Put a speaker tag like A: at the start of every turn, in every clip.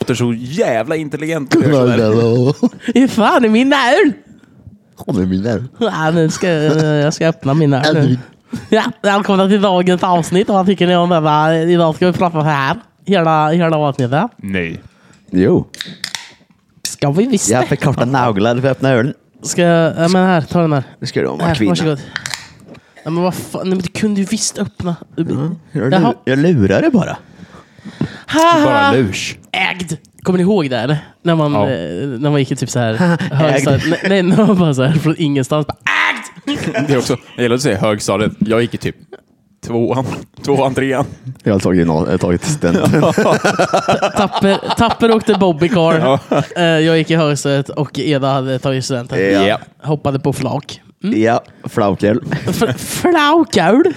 A: låter så jävla intelligent.
B: Hur fan är min öl?
C: Hon är min vän.
B: Ja, nu ska jag, jag ska öppna min öl nu.
C: Edvin.
B: Ja, välkomna till dagens avsnitt. Vad tycker ni om denna? Idag ska vi prata så här. Hela, hela avsnittet.
A: Nej.
C: Jo.
B: Ska vi visst
C: Jag
B: det?
C: har för korta naglar för att öppna ölen.
B: Ska jag, ja, men här, ta den här.
C: Nu ska du om en
B: Här,
C: kvinna.
B: varsågod. Ja, men vad fan, nej, men du kunde ju visst öppna.
C: Mm. Jag,
B: Jaha.
C: lur, jag lurar dig bara.
A: Bara
B: Haha.
A: lurs.
B: Ägd! Kommer ni ihåg det eller? När man,
A: Ja.
B: eh, när man gick i typ så här
C: Ägd.
B: högstadiet. Nej, nej, när man bara så här från ingenstans. Bara, ägd!
A: Det är också, det gäller att säga högstadiet. Jag gick i typ tvåan, tvåan, trean.
C: Jag har tagit, någon, jag har tagit den.
B: Tapper, tapper åkte bobbycar. Eh, Jag gick i högstadiet och Eda hade tagit studenten.
C: Ja.
A: Ja.
B: Hoppade på flak.
C: ja, flaukel.
B: F- Flaukaul!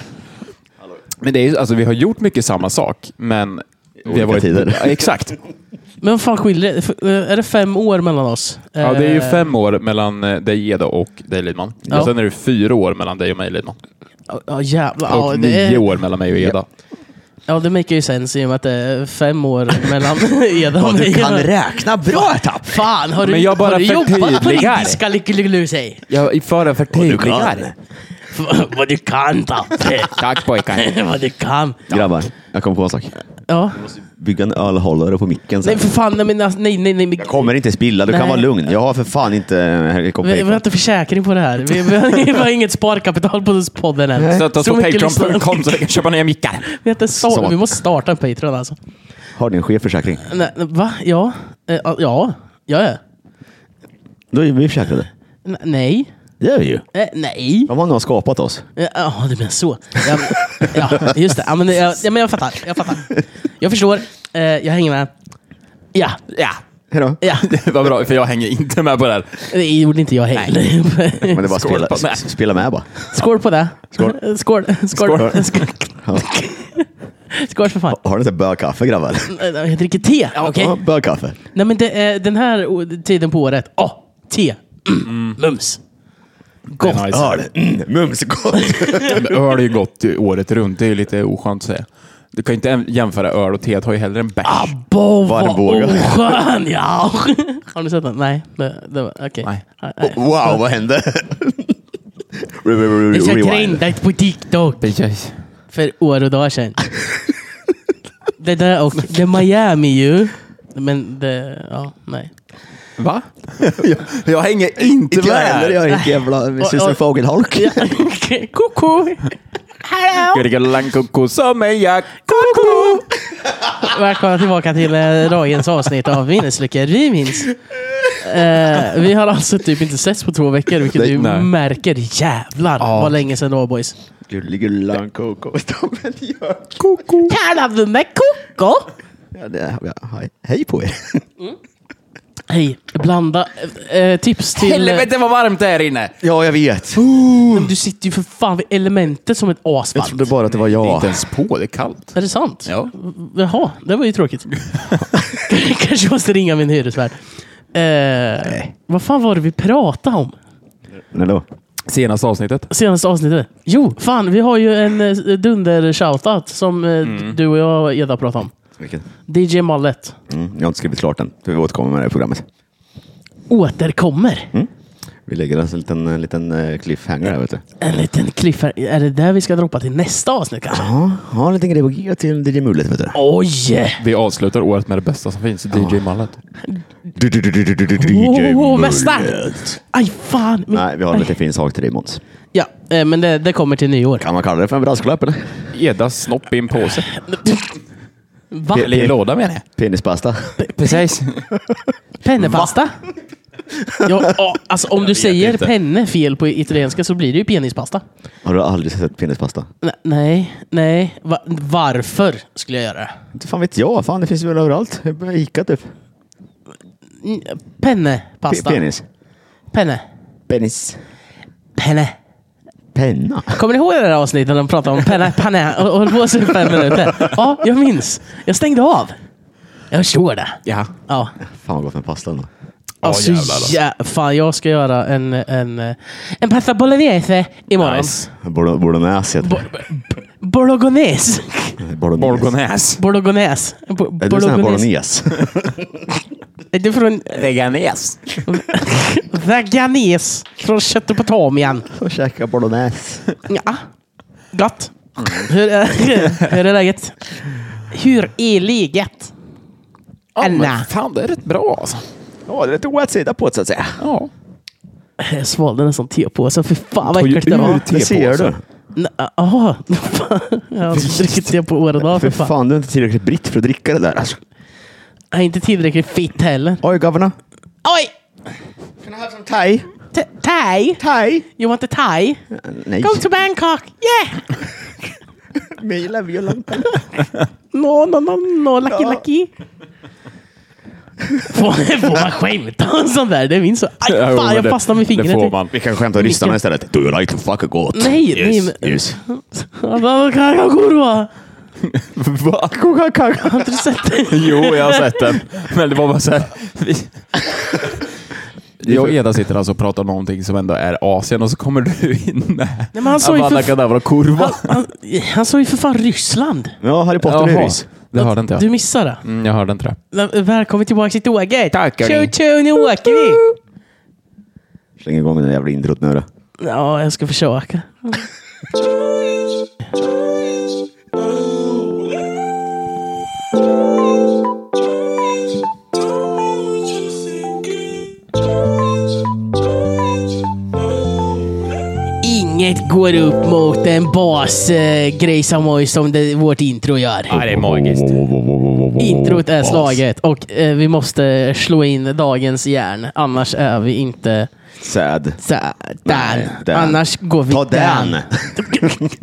A: Men det är ju, alltså vi har gjort mycket samma sak, men... Vi
C: Olika tider.
A: Ja, Exakt.
B: Men vad fan skiljer det? F- eh, Är det fem år mellan oss?
A: Ja, det är ju
B: Eh,
A: fem år mellan eh, dig Eda och dig Lidman.
B: Ja.
A: Och sen är det fyra år mellan dig och mig Lidman.
B: Ja jävlar.
A: Och
B: Ja, det,
A: nio
B: är-
A: år mellan mig och Eda.
B: ja det make ju sense i och med att det är fem år mellan Eda och
C: Vad du
B: mig.
C: kan räkna bra Tapp.
B: Fan, har du,
A: Men jag bara
B: har du jobbat på
A: förtydligar.
B: indiska lyckolusej?
A: Jag för en förtydligare.
B: Vad du kan Tapper!
A: Tack pojkar.
B: Vad du kan!
C: Grabbar, jag kom på en sak.
B: Ja.
C: Bygga en ölhållare på micken sen.
B: Nej för fan, nej men alltså, nej nej nej. men-
C: Jag kommer inte spilla, du
B: Nej.
C: kan vara lugn. Jag har för fan inte eh,
B: Vi, vi har
C: helikopter.
B: inte försäkring på det här. Vi, vi, har, vi har inget sparkapital på podden än.
A: Stötta oss
B: Så
A: på
B: mycket lyssnar-
A: Patreon.com så vi kan köpa nya mickar.
B: Vi, har inte start,
C: Som-
B: vi måste starta en Patreon alltså.
C: Har din chefförsäkring?
B: Nej, nej, va? Ja? Eh, Ja? Ja? ja.
C: Då är vi försäkrade.
B: N- Nej?
C: Det är vi ju.
B: Eh, Nej?
C: De har nog skapat oss.
B: Eh, Ja, det menar så. Ja, men- ja, just det. Ja, men, jag, ja, men jag fattar. Jag fattar. Jag förstår. Eh, Jag hänger med. Ja.
A: Ja.
C: Hejdå.
B: Ja.
A: Vad bra, för jag hänger inte med på det här.
B: Det gjorde inte jag heller.
C: Men det är bara att
A: Skål
C: spela,
A: på- nej.
C: s- spela med bara.
B: Skål på det. Skål. Skål. Skål,
C: Skål.
B: Skål.
C: Ja.
B: Skål för fan.
C: Har ni inte bögkaffe grabbar?
B: Eh, Jag dricker te. Okej.
C: Ja, Bögkaffe.
B: Nej men det är den här o- tiden på året. Åh, te. Mm. Mums. Gott.
A: nice.
C: Öl. Mm, Mums gott.
A: Men öl är ju gott ju året runt, det är ju lite oskönt att säga. Du kan ju inte jäm- jämföra öl och te, jag tar ju hellre en bärs.
B: Abbo, vad
C: Varmbåga.
B: oskön ja. Har ni sett den? Nej. Det, det var, okej.
A: Nej.
B: Nej.
C: Wow, vad hände? Re- re- re-
B: Det är så
C: Rewind.
B: trendigt på TikTok
A: Precis.
B: för år och dagar sedan. det där och det är Miami ju. Men det, ja, nej.
A: Va? jag, jag hänger inte
C: Inte jag heller.
A: med!
C: Jag är ett jävla syster
B: och-
C: fågelholk.
B: Ja, okej. Koko! Hallå!
A: Jag dricker lankoko som en jack. Koko!
B: Välkomna tillbaka till eh, dagens avsnitt av Minneslyckor vi minns. Eh, vi har alltså typ inte setts på två veckor, vilket
C: Nej,
B: du
A: nej.
B: märker. Jävlar vad länge sedan det var boys.
C: Gulligullan koko. Stammen gör.
A: Koko!
B: Kallar du mig koko?
C: Ja, det- ja, hej- Hej på er.
B: Hej, blanda. Eh, tips till...
A: Helvete vad varmt det är här inne!
C: Ja, jag vet.
B: Nej, men Du sitter ju för fan vid elementet som ett
C: Jag
B: asfalt.
C: trodde bara att det var
A: Det är
C: jag.
A: inte ens på, det är kallt.
B: Är det sant?
A: Ja.
B: Jaha, det var ju tråkigt. Kanske måste ringa min hyresvärd. Eh, vad fan var det vi pratade om?
C: Nej då.
A: Senaste avsnittet.
B: senaste avsnittet. Jo, fan, vi har ju en eh, dunder-shoutout som eh, du och jag och Eda pratade om.
C: Vilken?
B: DJ Mallet
C: Mm, jag har inte skrivit klart den. Vi återkommer med det här programmet.
B: återkommer.
C: Vi lägger en liten, en liten eh, cliffhanger här, vet du.
B: En liten cliffhanger. Är det där vi ska droppa till nästa avsnitt kanske?
C: Ja, ja, en liten grej på G till DJ Mulet, vet du.
B: Oj!
A: Vi avslutar året med det bästa som finns, DJ Mallet.
C: Du, du, du, du, du, du, du, DJ
B: Åh,
C: Mullet.
B: mästare! Aj, fan! Min-
C: Nej, vi har en liten fin sak till dig Måns.
B: Ja, eh, men det, det kommer till nyår.
C: Kan man kalla det för en brasklapp eller?
A: Edas snopp i en påse.
B: Va?
A: Eller i en låda menar jag.
C: Penispasta.
A: Precis.
B: Pennepasta? Ja, ja, alltså, om du säger
A: inte.
B: penne fel på italienska så blir det ju penispasta.
C: Har du aldrig sett penispasta?
B: N- nej, nej. Va- varför skulle jag göra det?
C: Inte fan vet jag. Fan, det finns väl överallt. Ica typ.
B: Mm, Penne,
C: P-
B: pasta.
C: Penis.
B: Penne.
C: Penis.
B: Penne.
C: Penna.
B: Kommer ni ihåg det där avsnittet när de pratade om penne, penne och och höll på så i fem minuter? Ja, jag minns. Jag stängde av. Jag förstår det.
A: Ja.
B: Ja.
C: Fan vad gott med pasta ändå.
B: Alltså,
A: jävlar, alltså.
B: jä- fan, jag ska göra en, en, en pasta bolognese imorgon.
A: Nice.
C: Bolo- Bolognese heter det.
B: Bo- Bolognese.
C: Bolognese.
A: Bolognese.
B: Bolognese. Bo-
C: Är du sån här bolognese?
B: Är du från eh,
A: Veganes.
B: veganes? Från Köttopotamien?
C: Och käka bolognese.
B: Ja. Gott.
C: Mm.
B: Hur är, hur är läget? Hur är läget?
A: Ja,
B: Anna.
A: men fan, det är rätt bra alltså.
C: Ja, det är lite wet sida på det, så att säga.
A: Ja.
B: Jag svalde nästan tepåsen. Fy fan vad
A: Tog ju
B: äckligt det var.
A: ur
C: Det ser du.
B: N- Jaha. Fan. Jag har inte druckit te på åren av.
C: För
B: För fan.
C: fan, du är inte tillräckligt britt för att dricka det där. Alltså.
B: Jag är inte tillräckligt fit heller.
C: Oj, governor.
B: Oj!
C: Can I have some thai?
B: T- Thai?
C: Thai?
B: You want a thai?
C: Nej.
B: Go to Bangkok! Yeah!
C: Me love you long time.
B: No, no, no, no, lucky, lucky. Får, får man skämta om sånt där? Det minns så. Aj,
A: Ja,
B: fan,
A: men
B: jag
A: det-
B: fastnade med fingret.
A: Det får man.
C: Vi kan skämta om ryssarna istället. Do you like to fuck a goat?
B: Nej,
C: yes,
B: nej, men-
C: Yes.
B: Ja, Vad kan jag kurva?
A: Va?
B: Har inte du sett det?
A: Jo, jag har sett den. Men det var bara så här. Vi... Jag och Eda sitter alltså och pratar om någonting som ändå är Asien och så kommer du in med
B: Nej, men han sa ju
A: Avada
B: för, fan-
A: Kedavra kurva.
B: han, han sa ju för fan Ryssland.
C: Ja, Harry Potter är
A: Jaha.
C: ryss.
A: Det hörde inte
B: Du
A: jag.
B: missade det.
A: Mm, jag hörde inte det.
B: Nej, Välkommen tillbaka till tåget.
A: Tack, hörni.
B: Tjo, tjo, nu åker vi.
C: Släng igång med den jävla introt nu då.
B: Ja, jag ska försöka. Inget går upp mot en basgrej som, som det, vårt intro gör.
A: Ja, det är magiskt.
B: Introt är slaget och eh, vi måste slå in dagens järn. Annars är vi inte
C: Sad.
B: så,
C: Nej,
B: där.
C: den.
B: Annars går vi
C: Ta den!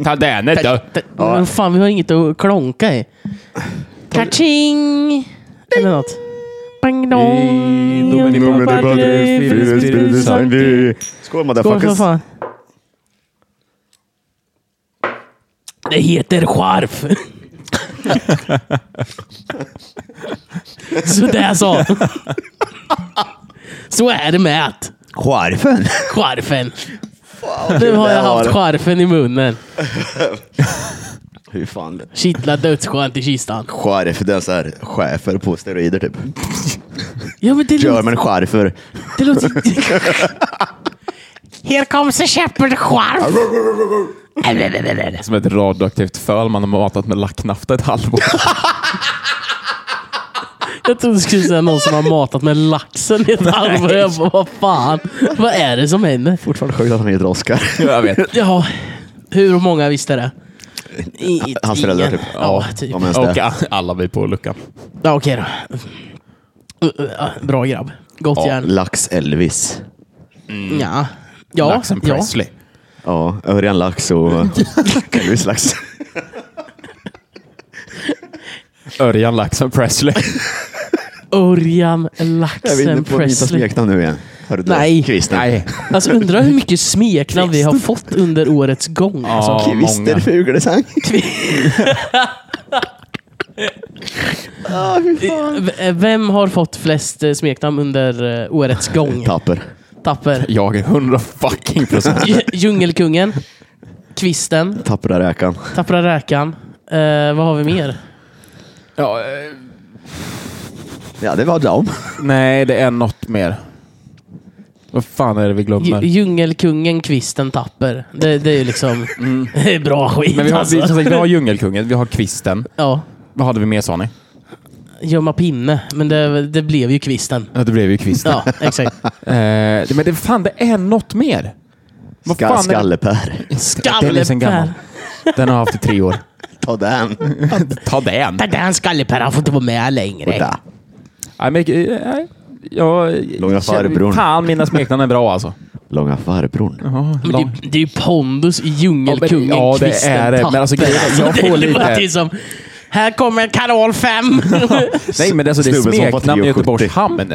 A: Ta den då.
B: D- Men fan, vi har inget att klonka i. Kaching! Eller något. Bang dong!
C: Skål
B: Skål för
C: motherfuckers!
B: fan. Det heter skärf. Så där så. Så är det med att
C: Skärfen!
B: skärfen. Nu har jag haft skärfen i munnen.
C: Hur fan?
B: Kittlar dödsskönt i kistan.
C: Skärf, det är så här chefer på steroider typ.
B: Ja, men det, låter-
C: German skärfer.
B: det låter... Here comes a shepherd skärf. Äh,
A: Som ett radioaktivt föl man har matat med lacknafta ett halvår.
B: Jag trodde du skulle säga någon som har matat med laxen i ett halvår. Jag bara, vad fan? Vad är det som händer?
C: Fortfarande sjukt att han heter Oscar.
A: jag vet.
B: Ja, hur många visste det? I-
C: Hans föräldrar
B: ingen.
C: typ.
B: Ja, typ.
C: Om ens
A: Och
C: det.
A: a- alla vi på luckan.
B: Ja, okej då. Uh, uh, uh, Bra grabb. Gott
C: Ja,
B: järn.
C: Lax Elvis.
B: Ja. Ja,
A: Laxen
B: ja.
A: Presley.
C: Ja, Örjan Lax och Elvis Lax.
A: Örjan Laxen Presley.
B: Örjan
C: Jag vill
B: Laxen
C: inte på vita
B: Presley.
C: smeknamn nu igen. Hör du det?
B: Nej.
C: Kvisten.
A: Nej.
B: Alltså undrar hur mycket smeknamn vi har fått under årets gång. Alltså.
A: Ja,
C: Kvister
A: många.
C: Fuglesang.
B: Eh, V- Vem har fått flest eh, smeknamn under eh, årets gång?
C: Tapper.
B: Tapper.
A: Jag är hundra fucking procent.
B: Dj- Djungelkungen. Kvisten.
C: Tappra räkan.
B: Tappra räkan. Eh, vad har vi mer?
A: Ja, eh,
C: Ja, det var dem.
A: nej, det är något mer. Vad fan är det vi
B: Dj-
A: glömmer?
B: Djungelkungen, kvisten, tapper. Det, det är ju liksom det är bra skit
A: Mm. Men vi har,
B: alltså.
A: vi, som sagt, vi har Djungelkungen, vi har Kvisten.
B: Ja,
A: Vad hade vi mer sa ni?
B: gömma pinne. Men det, det blev ju kvisten.
A: Ja, det blev ju Kvisten.
B: Ja, exakt.
A: Eh, men det, fan, det är något mer. Vad
C: Ska,
A: fan är det?
C: Skalle-Per.
A: Den är liksom sen gammal. Den har jag haft i tre år.
C: Ta den.
A: Ta den.
B: Den där skalleper, han får inte vara med
C: Och
B: längre.
C: där.
A: Nej, men, eh, nej. jag,
C: Långa farbrorn.
A: Fan, mina smeknamn är bra alltså.
C: Långa farbrorn.
B: Men det, det är ju pondus i djungelkungen,
A: Ja, men- ja, det
B: kvisten,
A: är det. Men
B: tapper.
A: alltså, grejen är- jag
B: Det är
A: får
B: bara
A: lite-
B: till som, här kommer kanal 5.
A: Nej, men alltså, det är
C: Snubben som var
A: smeknamn i
C: 3,70.
A: Göteborgs hamn.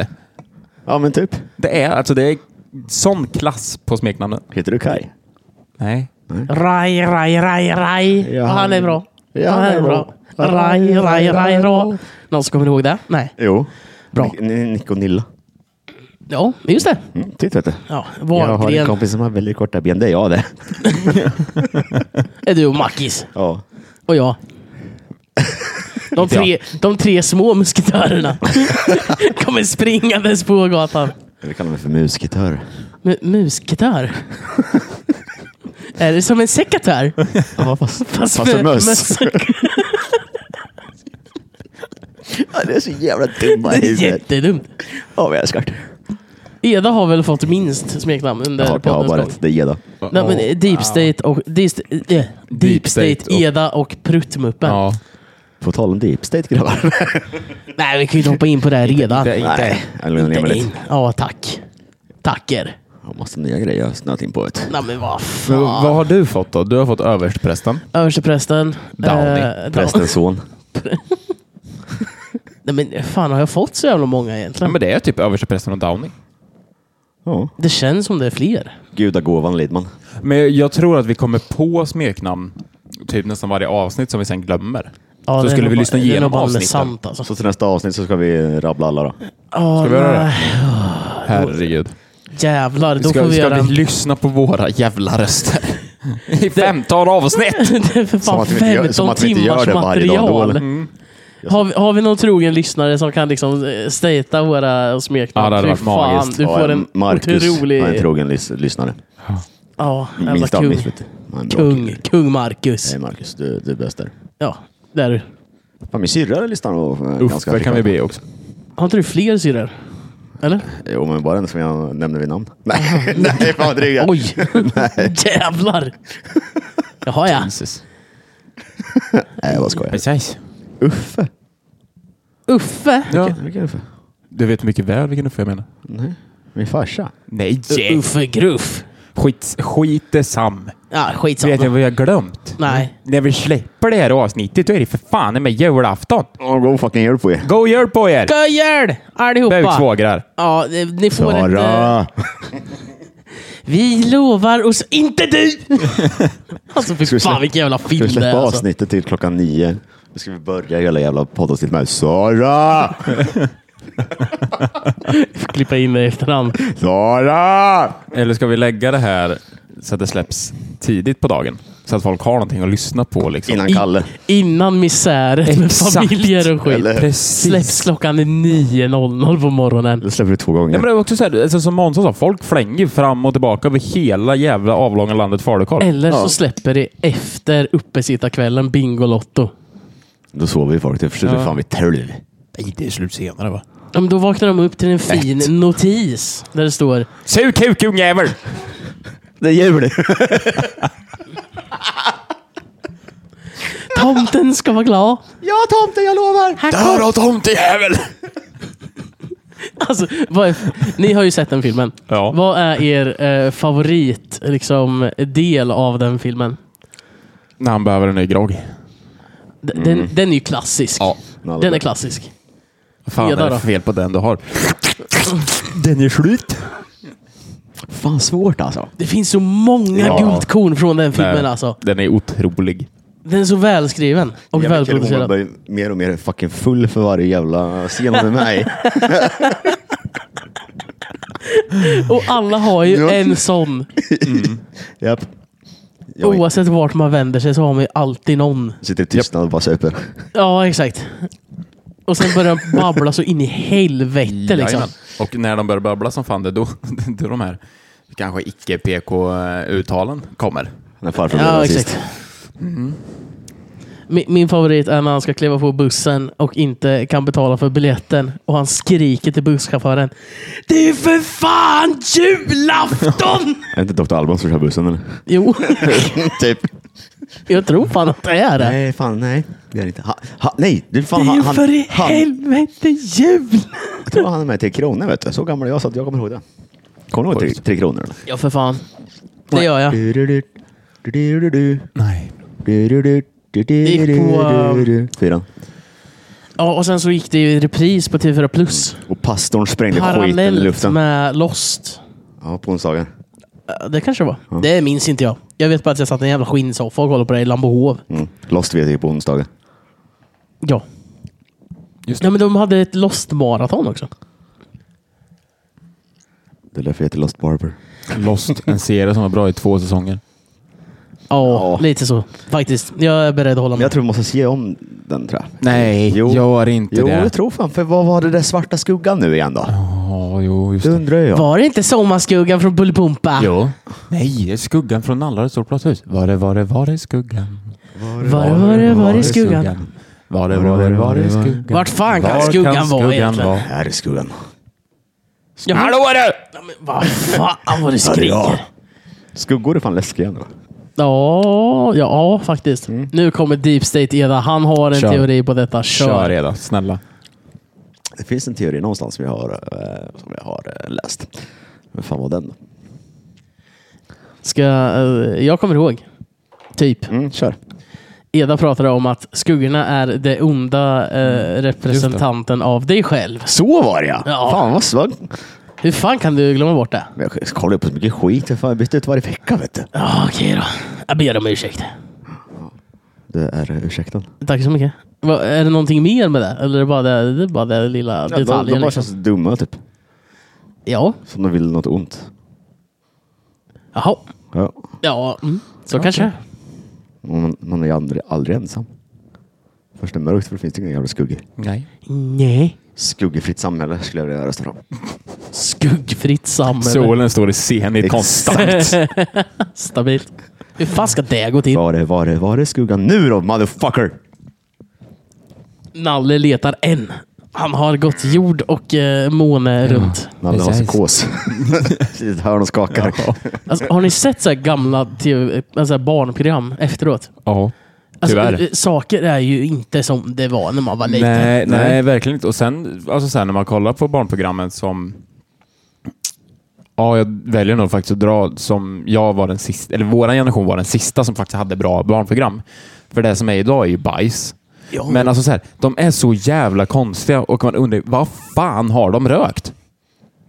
C: Ja, men typ.
A: Det är alltså det är sån klass på smeknamnen.
C: Heter du Kai?
A: Nej.
B: Raj, raj, raj, raj.
C: Ja,
B: han är bra.
C: ja,
B: han är bra. Raj, raj, raj, rå. Någon som kommer ihåg det? Nej.
C: Jo.
B: Bra.
C: Ni- ni- Nick och Nilla.
B: Ja, just det.
C: Mm, titt, vet du.
B: Ja,
C: Jag har en
B: Wahlgren.
C: kompis som har väldigt korta ben. Det är jag det.
B: Är du och Mackis?
C: Ja.
B: och jag. De tre, de tre små musketörerna kommer springandes på gatan.
C: Vi kallar mig för musgitarr.
B: M- musketör? Är det som en sekatör?
C: Ja, fast,
B: Fast
C: en
B: med-
C: möss.
B: med-
C: Ja, det är så jävla dumma
B: Det
C: i
B: är
C: huvudet.
B: jättedumt.
C: Ja, vi älskar det.
B: Eda har väl fått minst smeknamn under
C: Ja, Jag har bara
B: poddens
C: ett.
B: gång?
C: Det är Geda.
B: Nej, men eh, Deep State och... Deep, St- eh, deep,
A: Deep State
B: State, Eda och Pruttmuppen.
A: Ja.
C: På tal om Deep State grabbar.
B: Nej, vi kan ju inte hoppa in på det här redan.
A: Inte- inte-
C: Nej, jag lugnar ner mig
B: Inte
C: lite.
B: in. Ja, tack. Tacker.
C: Jag har massa nya grejer jag har snöat in på. Vet. du.
B: Nej, men vad
A: Men
B: fan.
A: vad har du fått då? Du har fått överstprästen.
B: Översteprästen.
A: Downey.
B: eh, Down-
C: Prästens son.
B: Nej, men fan har jag fått så jävla många
A: Ja,
B: egentligen?
A: men det är typ översteprästen och Downing.
C: Ja.
B: Det känns som det är fler.
C: Gudagåvan Lidman.
A: Men jag tror att vi kommer på smeknamn typ nästan varje avsnitt som vi sen glömmer.
B: Ja,
A: Så
B: det är
A: skulle
B: nog
A: vi
B: bara-
A: lyssna
B: det är nog
A: igenom
B: bara med
A: avsnitten.
B: Sant, alltså.
C: Så till nästa avsnitt så ska vi rabbla alla då.
B: Åh,
A: Ska vi göra det?
B: nej.
A: Herregud.
B: Jävlar, då
A: Ska,
B: får vi
A: ska
B: göra
A: vi
B: en...
A: lyssna på våra jävla röster? I 15 avsnitt!
B: det är för
C: Som
B: fan
C: att vi inte gör-
B: 15
C: som att vi inte gör
B: timmars
C: det Mm. varje dag då,
B: material.
C: eller?
A: Mm.
B: Har, vi, har vi någon trogen lyssnare som kan liksom eh, statea våra smeknamn?
A: Ja, det hade varit
B: Fy fan,
A: magiskt.
B: Du
C: Ja,
B: får en
C: Marcus
B: otrolig...
C: är en trogen lys- lyssnare.
B: Ja, jävla
C: Min
B: kung.
C: stammis. vet du. Han är en bra
B: Kung.
C: kille.
B: Kung Marcus.
C: Nej Marcus, du, du är bäst där.
B: Ja, det är du.
C: Fan, min syrra lyssnar nog eh,
A: Uff,
C: ganska
A: det kan vi
C: frekvent.
A: be också.
B: Har inte du fler syrror? Eller?
C: Jo, men bara den som jag nämnde vid namn. Nej, nej fan dryga.
B: Oj! Jävlar! Jaha ja.
A: Jesus.
C: Nej, jag bara skojar.
A: Precis.
C: Uffe.
B: Uffe?
A: Ja.
C: Vilken- Vilken Uffe?
A: Du vet mycket väl vilken Uffe jag menar.
C: Nej, min farsa.
A: Nej!
B: Uffe Gruff.
A: Skit, skit sam.
B: Ja, skitsamma.
A: Vet ni vad jag glömt?
B: Nej.
A: När vi släpper det här avsnittet, då är det för fan med julafton.
C: Oh, go fucking here på er.
A: Go jul på er!
B: Göjel! Allihopa!
A: Buksvågrar.
B: Ja, eh, ni får ett... eh,
C: Sara!
B: Vi lovar oss inte du! alltså fy
C: vi
B: fan
C: släppa-
B: vilken jävla
C: Ska vi
B: film det är.
C: släppa
B: Alltså.
C: avsnittet till klockan nio? Nu ska vi börja hela jävla poddavsnittet med Sara!
B: Klippa in det i efterhand.
C: Sara!
A: Eller ska vi lägga det här så att det släpps tidigt på dagen? Så att folk har någonting att lyssna på. Liksom.
C: Innan Kalle.
B: Innan misäret med
A: Exakt.
B: familjer och skit.
C: Eller-
A: Precis.
B: Släpps klockan 9.00 på morgonen.
C: Det släpper vi två gånger.
A: Ja, men det är också så här, alltså, som Månsson sa, folk flänger ju fram och tillbaka över hela jävla avlånga landet Falukorv.
B: Eller så
C: Ja.
B: släpper det efter uppesittarkvällen Bingolotto.
C: Då sover vi folk till för
A: Ja.
C: fan vid tolv.
A: Nej, det är slut senare va?
B: Ja, men då vaknar de upp till en fin
C: Fett.
B: notis där det står
A: Sug kuk ungjävel!
C: Det är jul!
B: Tomten ska vara glad.
C: ja tomten, jag lovar!
B: Här kom...
A: då tomtejävel!
B: Alltså, vad är... Ni har ju sett den filmen.
A: Ja.
B: Vad är er eh, favorit liksom, del av den filmen?
A: När han behöver en ny grogg.
B: D- Den, den är ju klassisk. Den är klassisk.
A: Vad fan
B: Eda
A: är
B: då?
A: det fel på den du har? Den är slut.
C: Fan svårt alltså.
B: Det finns så många
A: Ja.
B: guldkorn från den filmen
A: Nej,
B: alltså.
A: Den är otrolig.
B: Den är så välskriven och
C: Jävla kille, hon
B: välproducerad.
C: blir mer och mer fucking full för varje jävla scen med mig.
B: Och alla har ju
C: Ja.
B: en sån.
C: Japp. Jag
B: Oavsett vart man vänder sig så har man ju alltid någon.
C: sitter i tystnad och bara super.
B: Ja, exakt. Och sen börjar de babbla så in i helvete liksom.
A: Jajamän. Och när de börjar babbla som fan, det är då, det är de här kanske icke-PK-uttalen kommer.
C: När farfar blev
B: Ja,
C: rasist.
B: exakt. Min, min favorit är när han ska kliva på bussen och inte kan betala för biljetten och han skriker till busschauffören. Det är för fan julafton!
C: Är det inte Dr. Alban som kör bussen eller?
B: jo,
C: typ.
B: jag tror fan att det är det.
C: Nej, fan nej. Det är det inte. Ha, ha, nej, du
B: Det
C: fan
B: är
C: han,
B: ju
C: han,
B: för i
C: han,
B: helvete jul!
C: Jag tror han är med till Kronor vet du. Så gammal är jag så att jag kommer ihåg det. Kommer du ihåg tre,
A: Sjukt.
C: tre Kronor? Eller?
B: Ja, för fan. Det gör jag.
C: Du, du, du, du, du, du, du.
A: Nej.
C: Du, du, du, du, du,
B: gick på,
C: du, du, du. Fyran.
B: Ja, och sen så gick det ju i repris på TV4 Plus.
C: Och pastorn sprängde skiten i
B: Parallellt
C: luften.
B: med Lost.
C: Ja, på onsdagen.
B: Ja, Det kanske det var. Det minns inte jag. Jag vet bara att jag satt i en jävla skinnsoffa och kollade på det i Lambohov.
C: Mm. Lost vet jag ju på onsdagen.
B: Ja.
A: Just det.
B: ja, men de hade ett Lost-maraton också.
C: Det är därför jag heter Lost Barber.
A: Lost, en serie som var bra i två säsonger.
B: Ja,
C: Ja.
B: lite så. Faktiskt. Jag är beredd att hålla
C: Men
B: med.
C: jag tror vi måste se om den tror jag.
A: Nej,
C: Jo.
A: gör inte
C: Jo,
A: det.
C: jag tror fan. För vad var det där svarta skuggan nu igen då?
A: Ja, jo, just
C: Det
A: det.
C: undrar jag.
B: Var det inte Sommarskuggan från Bullpumpa?
A: Jo. Nej, det är skuggan från Nallare står platshus. Var det, var det, var det skuggan?
B: Var, var, det- var det skuggan?
A: Var det, var det, var det skuggan?
B: Vart fan kan skuggan vara egentligen?
A: vara?
C: Här är skuggan.
B: Ja, hallå du! Ja, men vad fan vad du skriker.
C: Skuggor är fan läskiga ändå.
B: Ja, ja faktiskt.
C: Mm.
B: Nu kommer Deep State Eda. Han har en
A: Kör.
B: teori på detta. Kör.
A: Kör redan, snälla.
C: Det finns en teori någonstans som jag har, eh, som jag har eh, läst. Men fan var den?
B: Ska, eh, jag kommer ihåg. Typ.
C: Mm, kör.
B: Eda pratade om att skuggorna är det onda
C: Mm.
B: eh, representanten av dig själv.
C: Så var det ja!
B: Ja.
C: Fan vad svag.
B: Hur fan kan du glömma bort det?
C: Men Jag kollar ju på så mycket skit. Jag fan, jag byter ut varje vecka vet du.
B: Ja, Okej då. Jag ber om ursäkt.
C: Det är eh, ursäkten.
B: Tack så mycket. Va, är det någonting mer med det? Eller är det bara det, det, är bara det lilla
C: Ja, de,
B: detaljen?
C: de bara
B: liksom?
C: känns dumma typ.
B: Ja,
C: Som de vill något ont.
B: jaha.
C: Ja.
B: Ja, mm. så kanske.
C: Man, man är ju aldrig, aldrig ensam. Först när det är mörkt för då finns det inga jävla skuggor.
A: Nej.
B: Nej.
C: Skuggefritt samhälle skulle jag vilja rösta fram.
B: Skuggfritt samhälle.
A: Solen står i zenit konstant.
B: Stabilt. Hur fan ska det gå till?
C: Var det, var det, var det skuggan nu då motherfucker?
B: Nalle letar en. Han har gått jord och eh,
A: Mm.
B: måne runt.
C: Nalle har
A: Precis.
C: psykos. Precis, Hör de skakar.
B: Alltså, har ni sett så här gamla TV, alltså här barnprogram efteråt?
A: Ja.
B: Alltså,
A: Tyvärr.
B: eh, Saker är ju inte som det var när man var liten.
A: Nej, nej, verkligen inte. Och sen, alltså sen när man kollar på barnprogrammen som... Ja, jag väljer nog faktiskt att dra som jag var den sista, eller vår generation var den sista som faktiskt hade bra barnprogram. För det som är idag är ju bajs.
B: Ja.
A: Men alltså så här, de är så jävla konstiga och man undrar vad fan har de rökt?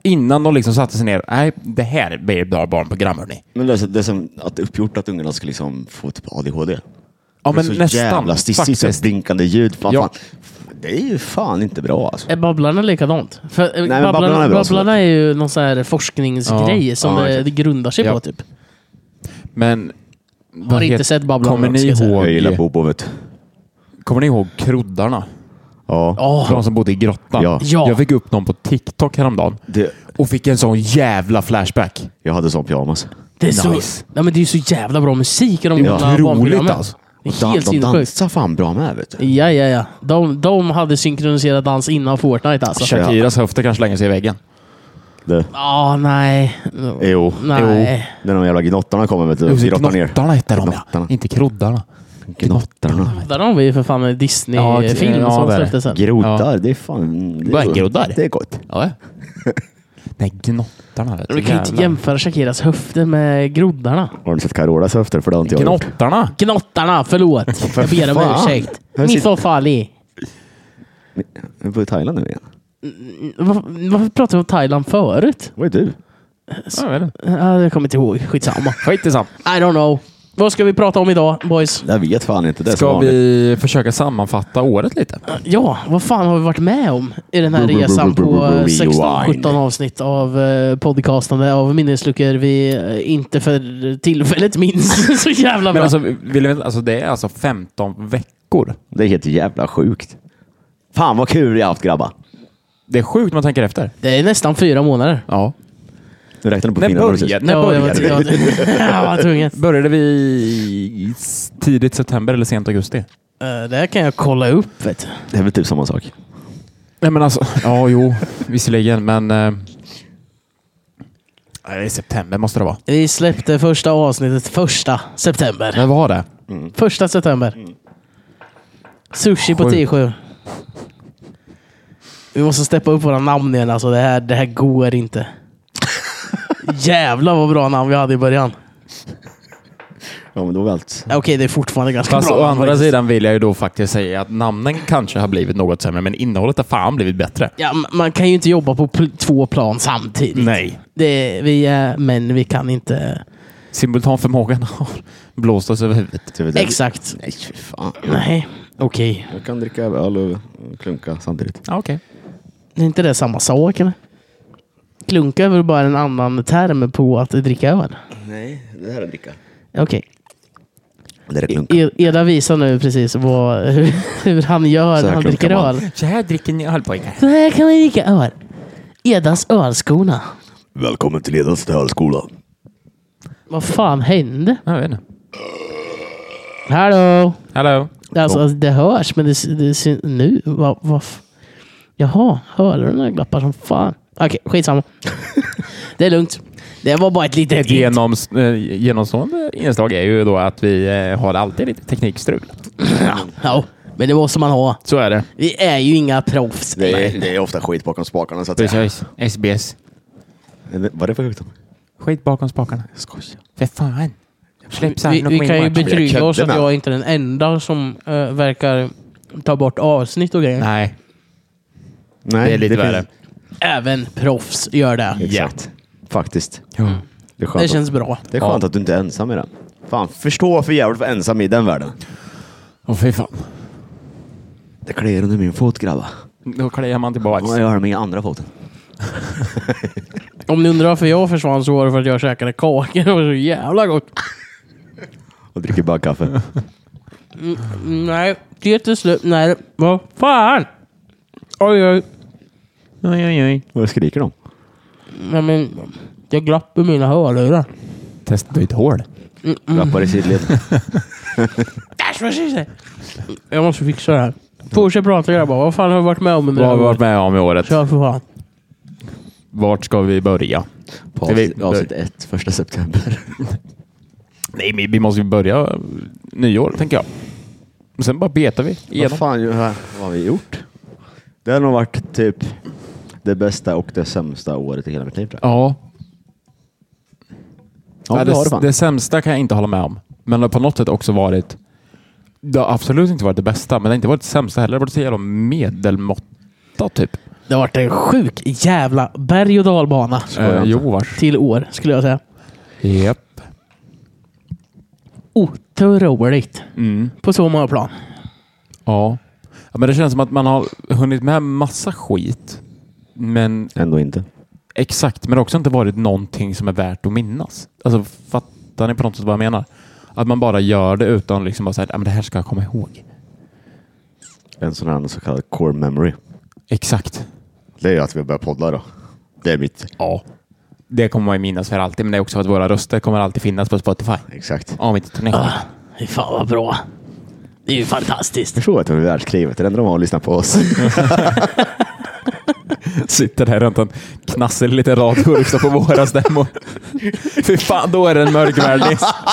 A: Innan de liksom satte sig ner. Nej, det här blir ett bra barnprogram hörni.
C: Men det är, så, det är som att det är uppgjort att ungarna ska liksom få typ ADHD.
A: Ja,
C: det är
A: men
C: så
A: nästan.
C: jävla stissigt. så här
A: faktiskt.
C: Blinkande ljud. Fan,
A: Ja.
C: fan. Det är ju fan inte bra alltså.
B: Är Babblarna likadant? För, eh,
C: men
B: babblarna,
C: Babblarna
B: babblarna,
C: är
B: är
C: bra som
B: ju någon sån här forskningsgrej
A: Ja,
B: som
C: ja,
B: det,
C: exakt.
B: det grundar sig
A: Ja.
B: på. Typ.
A: Men...
B: Har inte sett Babblarna,
A: Kommer ni
B: ska jag säga.
A: ihåg,
C: Jag gillar Bobo vet du.
A: kommer ni ihåg kroddarna?
C: Ja.
B: Ja.
A: De som bodde i grottan.
C: Ja.
B: Ja.
A: Jag fick upp någon på TikTok häromdagen
C: Det,
A: och fick en sån jävla flashback.
C: jag hade sån pyjamas.
B: det, är
A: Nice.
B: så, nej, men det är ju så jävla bra musik i de
A: Ja.
B: gamla
A: Otroligt,
B: barnprogrammen.
A: alltså.
B: Det
C: Dan-
B: är helt
C: de
B: sinnessjukt.
C: dansar fan bra med vet du.
B: Ja, ja, ja. De, de hade synkroniserat dans innan Fortnite alltså.
C: Kör.
A: Shakiras höfter kanske slänger sig i väggen.
C: Det.
B: Ja, nej.
C: Jo.
B: Nej.
C: När de jävla gnottarna kommer vet du.
A: Jo,
C: Grottar ner.
A: Gnottarna hette de ja.
C: Gnottarna.
A: Inte kroddarna.
C: Gnottarna.
B: Där har vi ju för fan en Disney-film
A: Ja,
B: som
A: det är
B: släpptes sen.
C: Groddar. Det är fan... Det
A: Vad är
C: gott.
A: groddar?
C: Det är gott.
A: Ja. Nej, gnottarna. vet
B: Du kan ju inte
A: Jävlar.
B: jämföra Shakiras höfter med groddarna.
C: Har du sett Carolas höfter? För det har inte jag gjort.
A: Gnottarna?
B: Gnottarna, förlåt. Jag ber om
C: fan.
B: ursäkt.
C: Här
B: Mitt
C: sitter-
B: förfall
C: Vi var i Thailand nu igen.
B: varför, varför pratade vi om Thailand förut?
C: Vad är du?
A: Ja, jag vet inte.
B: Ja, Jag kommer inte ihåg. Skitsamma.
A: Skit i samma.
B: I don't know. Vad ska vi prata om idag, boys?
C: Jag vet fan inte. Det är
A: Ska
C: som vanligt.
A: vi försöka sammanfatta året lite?
B: Ja, vad fan har vi varit med om i den här
C: Bru- bru-
B: resan
C: bru- bru-
B: på
C: bru-
B: eh,
C: rewind.
B: 16-17 avsnitt av eh, podcastande av minnesluckor vi eh, inte för tillfället minns så jävla
A: Men
B: bra.
A: alltså, vill vi, alltså, det är alltså 15 veckor.
C: Det är helt jävla sjukt. Fan vad kul vi har haft grabbar.
A: Det är sjukt man tänker efter.
B: Det är nästan fyra månader.
A: Ja.
C: Nu räknar du på
A: När
C: fingrarna precis.
A: började, när
B: Ja, jag
A: började
B: var,
A: vi?
B: jag, jag var tvungen.
A: Började vi i s- tidigt september eller sent augusti?
B: Eh, Det här kan jag kolla upp. Vet. du.
C: Det är väl typ samma sak.
A: Nej men alltså, ja jo, visserligen men... Eh, nej, det är september måste det vara.
B: Vi släppte första avsnittet första september.
A: Men vad var det?
B: Första september. Sushi på
A: Sjukt.
B: 10 Vi måste steppa upp våra namn igen alltså. Det här, det här går inte. Jävlar vad bra namn vi hade i början.
C: Ja men då var allt.
B: Okej, det är fortfarande ganska
A: Fast
B: bra.
A: å
B: namn
A: andra
B: faktiskt.
A: sidan vill jag ju då faktiskt säga att namnen kanske har blivit något sämre, men innehållet har fan blivit bättre.
B: Ja, m- man kan ju inte jobba på pl- två plan samtidigt.
A: Nej.
B: Det, vi är män, vi kan inte...
A: Simultanförmågan har blåst oss över huvudet.
C: Så vi-
B: Exakt.
C: typ, Nej fy fan.
B: Nej, okej.
C: Jag kan dricka öl och klunka samtidigt.
A: Ja, okej.
B: Är inte det samma sak eller? Klunka är väl bara en annan term på att dricka öl?
C: Nej, det här är dricka.
B: Okej.
C: Det är lugnt.
B: E- Eda visar nu precis vad, hur han gör
C: Så
B: när
C: här
B: han dricker
C: klunkar man.
B: öl.
A: Så här dricker ni öl pojkar.
B: Så här kan man dricka öl. Edas ölskona.
C: Välkommen till Edens högskola.
B: Vad fan hände?
A: Jag vet inte.
B: Hallå?
A: Hallå?
B: Alltså, alltså, det hörs, men det, sy- det syns nu. Va, va, f- Jaha, hörlurarna glappar som fan. Okej, skitsamma. det är lugnt. Det var bara ett litet
A: Ett genoms, eh, genomstående inslag är ju då att vi eh, har alltid lite teknikstrul.
B: Ja, men det måste man ha.
A: Så är det.
B: Vi är ju inga proffs.
C: Det är, det är ofta skit bakom spakarna. Så att säga.
A: Precis. SBS.
C: Vad är det för sjukdom?
A: Skit bakom spakarna.
C: Skoja.
A: För fan. Släpp
B: Vi,
A: sargen och
B: vi
A: gå in
B: kan ju
A: i matchen.
B: betrygga oss att
C: Kedjorna.
B: jag inte är den enda som eh, verkar ta bort avsnitt och grejer.
A: Nej,
C: Nej,
A: det är lite värre.
C: finns-
B: Även proffs gör det.
C: Exakt. Faktiskt.
A: Ja.
C: Det är skönt,
B: Det känns bra.
C: att, det är skönt att du inte är ensam i den. Fan, förstå för jävligt att vara ensam i den världen.
A: Åh fy fan.
C: Det kliar under min fot grabbar.
A: Då kliar man
C: Ja,
A: tillbaks.
C: jag har med andra foten.
B: Om ni undrar varför jag försvann så var det för att jag käkade kakor. Det var så jävla gott.
C: Och dricker bara kaffe.
B: Nej, det är till slut. Nej, vad fan! Oj, oj.
A: Oj, oj, oj.
C: Vad skriker de?
B: Nej, men det glapp i mina hörlurar.
A: Testa ditt hål.
C: Rappar i sidled.
B: That's what she said. Jag måste fixa det här. Fortsätt prata grabbar. Vad fan har vi varit med om under
A: Vad har
B: det
A: vi
B: här
A: varit
B: året?
A: med om i året?
B: Kör för fan.
A: Vart ska vi börja?
C: På
A: Ska vi-
C: avsnitt, avsnitt ett, första september.
A: Nej, men vi måste ju börja eh, nyår, tänker jag. Och Sen bara betar vi
C: Vad
A: igenom.
C: fan ju- vad har vi gjort? Det har nog varit typ det bästa och det sämsta året i hela mitt liv. tror jag.
A: Ja,
C: Ja,
A: Ja,
C: det har det
A: det,
C: fan.
A: sämsta kan jag inte hålla med om. Men det har på något sätt också varit... Det har absolut inte varit det bästa, men det har inte varit det sämsta heller. Det har varit så jävla medelmåtta, typ.
B: Det har varit en sjuk jävla berg och dalbana.
A: Äh.
C: jag inte.
A: Eh, jo, vars.
B: Till år, skulle jag säga.
A: Japp.
B: Otroligt.
A: Mm.
B: På så många plan.
A: Ja. ja. Men det känns som att man har hunnit med massa skit. Men
C: Ändå inte.
A: exakt, men det har också inte varit någonting som är värt att minnas. Alltså, fattar ni på något sätt vad jag menar? Att man bara gör det utan liksom bara säga, men det här ska jag komma ihåg.
C: En sån här så kallad core memory.
A: Exakt.
C: Det är ju att vi börjar podda då. Det är mitt.
A: Ja. Det kommer man ju minnas för alltid, men det är också att våra röster kommer alltid finnas på Spotify.
C: Exakt.
A: Om inte turné.
B: Ah, Fy fan vad bra. Det är ju fantastiskt.
C: Förstå att de är världskriget. Det enda de har att lyssna på oss.
A: Sitter där runt en knassig liten radio och lyssnar på våra stämmor. Fy fan, då är det en mörk värld.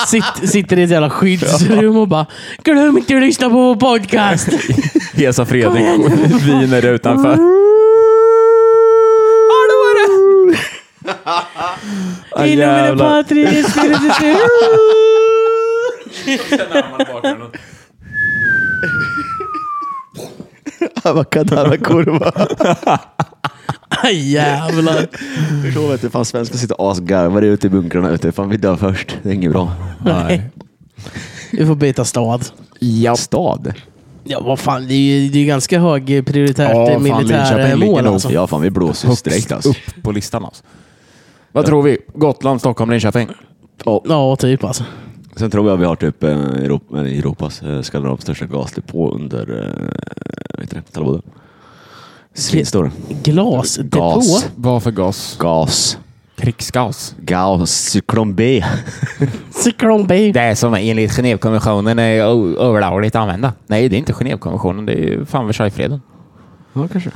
B: Sitt, sitter i ett jävla skyddsrum och bara Glöm inte att lyssna på vår podcast!
A: Hesa Fredrik Mm.
B: Kom
A: viner utanför. Ah,
B: Inom
A: jävlar.
B: Patrik,
C: Avakadabra-kurva.
B: Ah, Jävlar.
C: Förstå vet du, fan svenskar sitter asgarvade ute i bunkrarna ute. Fan vi dör först. Det är inget bra.
A: Nej.
B: Vi får byta stad.
A: Ja.
C: Stad.
B: Ja, vad fan. Det är ju det är ju ganska hög prioritet
A: Ja,
B: ja,
A: fan, Linköping ligger
B: militärmål
A: nog-
B: alltså.
C: Ja fan vi blåser ju direkt alltså.
A: Upp på listan alltså. Vad tror vi? Gotland, Stockholm, Linköping?
B: Ja, typ alltså.
C: Sen tror jag vi har typ eh, Europa, eller Europas eh, Skandinavs största gasdepå under eh, vad heter det? Talboda. Svinstor.
B: Glasdepå.
C: Gas.
A: Vad för gas?
C: Gas.
A: Krigsgas.
C: Gas. Cyklon B.
B: Cyklon B.
A: Det som enligt Genèvekonventionen är o- olagligt att använda. Nej, det är inte Genèvekonventionen. Det är ju fan Versaillesfreden.
C: Ja kanske.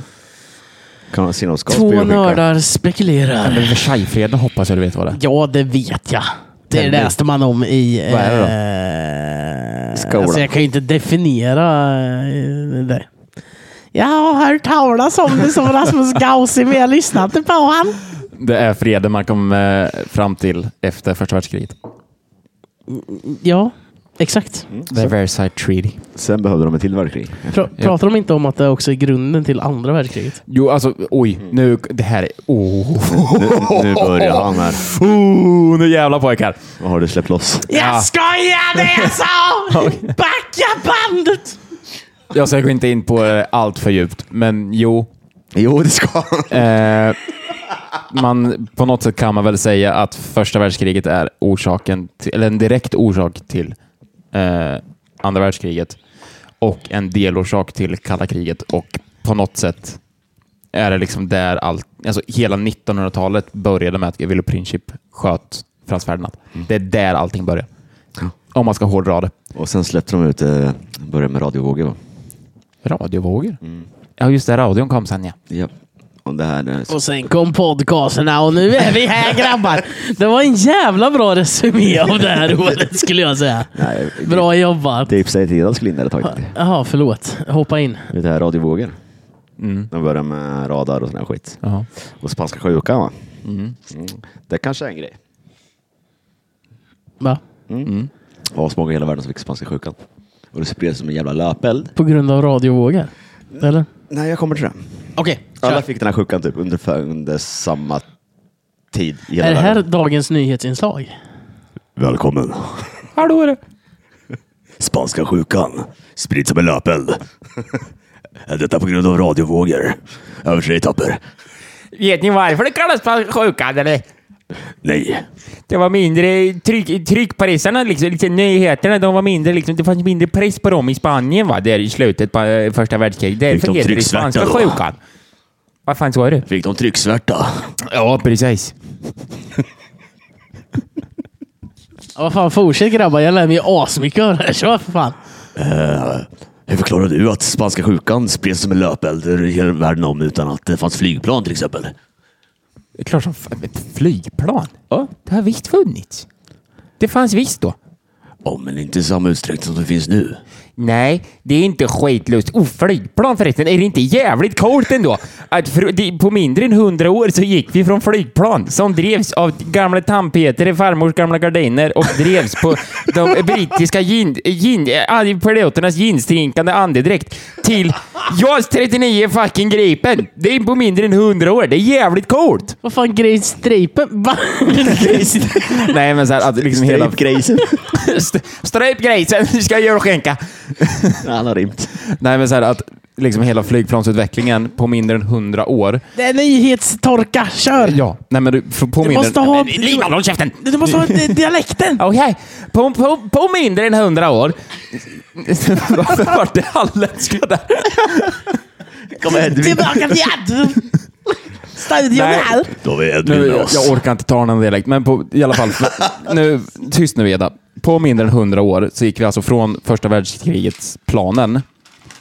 C: Kan ha sinapsgas på
B: Två
C: julskinka.
B: nördar spekulerar.
A: Men Versaillesfreden hoppas jag du vet vad det är.
B: Ja, det vet jag. Det
A: Tänder.
B: läste man om i...
A: Vad är
B: det
C: Skolan.
B: Alltså jag kan ju inte definiera eh, det. Jag har hört talas om det som Rasmus Gaussi, men jag lyssnade inte på han.
A: Det är freden man kom eh, fram till efter första världskriget.
B: Ja, exakt.
A: The Versailles Treaty.
C: Sen behövde de ett till världskrig.
B: Pra-
A: Mm.
B: pratar de inte om att det också är grunden till andra världskriget?
A: Jo, alltså oj. Nu, det här är... Oh,
C: Nu, nu börjar han här.
A: oh, nu jävla pojkar.
C: Vad har du släppt loss?
A: Ja.
B: Jag skojade, jag sa! Backa bandet!
A: Jag ska gå inte in på eh, allt för djupt, men jo.
C: Jo det ska han.
A: Eh, man, på något sätt kan man väl säga att första världskriget är orsaken till, eller en direkt orsak till eh, andra världskriget och en delorsak till kalla kriget och på något sätt är det liksom där allt, alltså hela 1900-talet började med att Gavrilo Princip sköt Frans Ferdinand. Det är där allting börjar.
C: Ja.
A: Om man ska hårdra det.
C: Och sen släppte de ut, eh, började med radiovågor va?
A: Radiovågor? Ja, just det. Radion kom sen ja.
C: Ja. Och det här... eh,
B: Och sen kom podcasterna och nu är vi här grabbar. Det var en jävla bra resumé av det här året skulle jag säga.
C: Nej,
B: Bra jobbat.
C: Dave Saitida skulle in där ett tag.
B: Jaha, förlåt. Hoppa in.
C: Det här radiovågor.
A: Mm.
C: De började med radar och sån här skit.
A: Jaha.
C: Och spanska sjukan va? Mm. Det kanske är en grej.
B: Va?
C: Det var så många i hela världen som fick spanska sjukan. Och det spreds som en jävla löpeld.
B: På grund av radiovågor? Eller?
C: Nej, jag kommer till det.
B: Okej,
C: Alla fick den här sjukan typ under, under samma tid i hela
B: Är det här
C: världen.
B: dagens nyhetsinslag?
C: Välkommen!
A: Hallå är det.
C: Spanska sjukan sprids som en löpeld. Detta på grund av radiovågor. Över tre etapper.
A: Vet ni varför det kallas för sjukan eller?
C: Nej.
A: Det var mindre tryck, tryckpressarna, liksom, lite nyheterna, de var mindre, liksom, det fanns mindre press på dem i Spanien va, där i slutet på eh, första världskriget.
C: Fick
A: Därför
C: de
A: heter det
C: trycksvärta
A: spanska
C: då?
A: sjukan. Vad fan sa du?
C: Fick de trycksvärta?
A: Ja, precis.
B: Ja, vad fan, fortsätt grabbar. Jag lär mig asmycket av det här. Kör för fan.
C: Hur förklarar du att spanska sjukan spreds som en löpeld i hela världen om utan att det fanns flygplan till exempel?
A: Det är klart som fan, ett flygplan. Ja. Det har visst funnits. Det fanns visst då.
C: Ja, men inte i samma utsträckning som det finns nu.
A: Nej, det är inte skitlust. Oh, flygplan förresten, är det inte jävligt coolt ändå? Att för, det, på mindre än hundra år så gick vi från flygplan som drevs av gamla tandpetare, i farmors gamla gardiner och drevs på de brittiska gin, gin, äh, piloternas ginstrinkande andedräkt till JAS 39 fucking Gripen. Det är på mindre än hundra år. Det är jävligt coolt!
B: Vad fan, Grace Stripe? Va?
A: Nej, men så här, att liksom hela...
C: grejsen.
A: St- Stryp grisen, vi ska julskänka!
C: Han har rymt.
A: Nej, men så här att liksom hela flygplansutvecklingen på mindre än hundra år.
B: Det är nyhetstorka. Kör!
A: Ja. Nej, men du, f- på mindre...
B: måste ha-
A: Nej, men Lina, håll käften!
B: Du måste ha di- dialekten.
A: Okej, på, på, på mindre än hundra år. Varför vart det halländska där?
C: Kom Hedvig.
B: Tillbaka till Gerd. Studion
A: Nej.
B: här.
C: Då har vi Hedvig
A: Nu,
C: med
A: jag,
C: oss.
A: jag orkar inte ta någon dialekt, men på, i alla fall. Nu, tyst nu Eda. På mindre än hundra år så gick vi alltså från första världskrigets planen,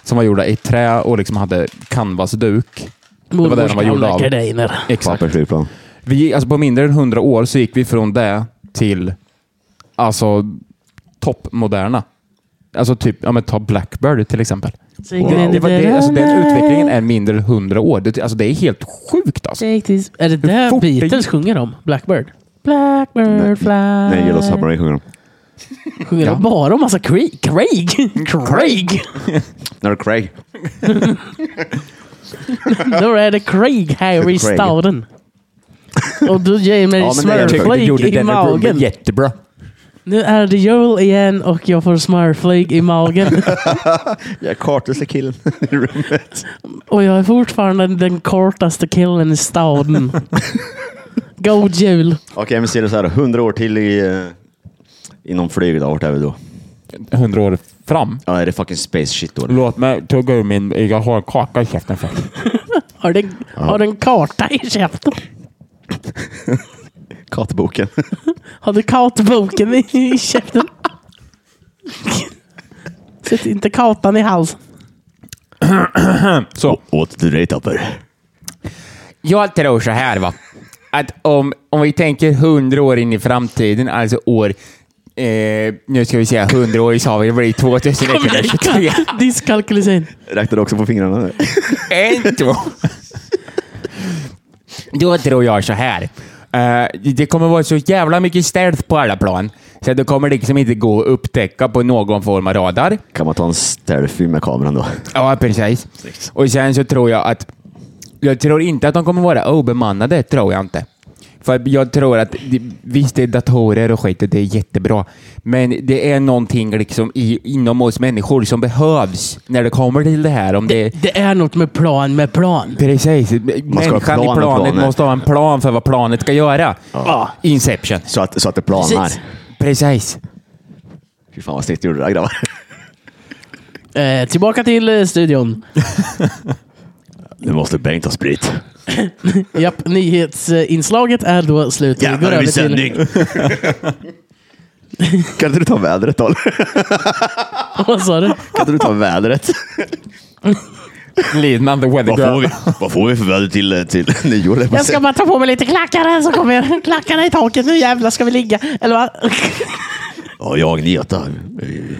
A: som var gjorda i trä och liksom hade canvasduk. var det de var gjorda av.
B: gardiner.
A: Exakt.
C: Pappersflygplan.
A: Vi, alltså på mindre än 100 år så gick vi från det till alltså toppmoderna. Alltså typ, ja men ta Blackbird till exempel.
C: Wow.
A: Det var det, alltså den utvecklingen är mindre än 100 år. Det, alltså det är helt sjukt alltså.
B: Take this. Är det
A: fort
B: där
A: det
B: Beatles
A: gick.
B: sjunger om? Blackbird? Blackbird
C: Nej.
B: fly.
C: Nej, Yellow Submarine sjunger de.
B: Sjunger de
A: Ja.
B: bara om massa Craig? Craig? Craig?
C: När Craig.
B: Då är det Craig här i
C: Craig.
B: staden. Och du ger mig
C: Ja, men det är jag tyckte
B: smörflik i magen.
A: jättebra.
B: Nu är det jul igen och jag får smörflik i magen.
C: Jag kartlöste killen i rummet.
B: Och jag är fortfarande den kortaste killen i staden. God jul!
C: Okej, men ser du så här. 100 år till i... eh, Inom flyget, vart är vi då?
A: 100 år fram.
C: Ja, är det fucking space shit då?
A: Låt mig tugga ur min... Jag har en kaka i käften först.
B: Har du, har du en karta i käften?
C: Kattboken.
B: Har du kartboken i, i käften? Sätt inte kartan i halsen.
A: Så.
C: Åt du dig tapper?
A: Jag tror så här va. Att om, om vi tänker 100 år in i framtiden, alltså år... Eh, nu ska vi säga 100 år i sa vi, det blir 2123.
B: Dyskalkylusin.
C: Räknar du också på fingrarna? nu?
A: En, två. Då tror jag så här. Eh, det kommer vara så jävla mycket stealth på alla plan, så det kommer liksom inte gå att upptäcka på någon form av radar.
C: Kan man ta en selfie med kameran då?
A: Ja, precis.
C: Snyggt.
A: Och sen så tror jag att... Jag tror inte att de kommer vara obemannade, tror jag inte. För jag tror att, det- visst det är datorer och skit och det är jättebra, men det är någonting liksom i, inom oss människor som behövs när det kommer till det här. Om det,
B: Det är något med plan med plan.
A: Precis.
C: ha
A: Människan
C: plan
A: i
C: med
A: planet
C: planer.
A: måste ha en plan för vad planet ska göra.
B: Ja.
A: Inception.
C: Så att, så att det planar.
B: Precis.
A: Precis.
C: Fy fan vad snyggt gjorde det där grabbar.
B: Eh, tillbaka till eh, studion.
C: Nu måste Bengt ha sprit.
B: Japp, nyhetsinslaget är då slut. Vi går
C: Jävlar
B: över
C: vilken
B: till...
C: sändning! kan inte du ta vädret då?
B: Vad sa du?
C: Kan inte du ta vädret?
A: Lidman the weather
C: Vad
A: girl.
C: får vi, vad får vi för väder till, till nyår? höll jag på att
B: Jag ska
C: säga.
B: bara ta på mig lite klackar här så kommer jag- klackarna i taket. Nu jävlar ska vi ligga. Eller vad?
C: Ja, jag Neta. eh,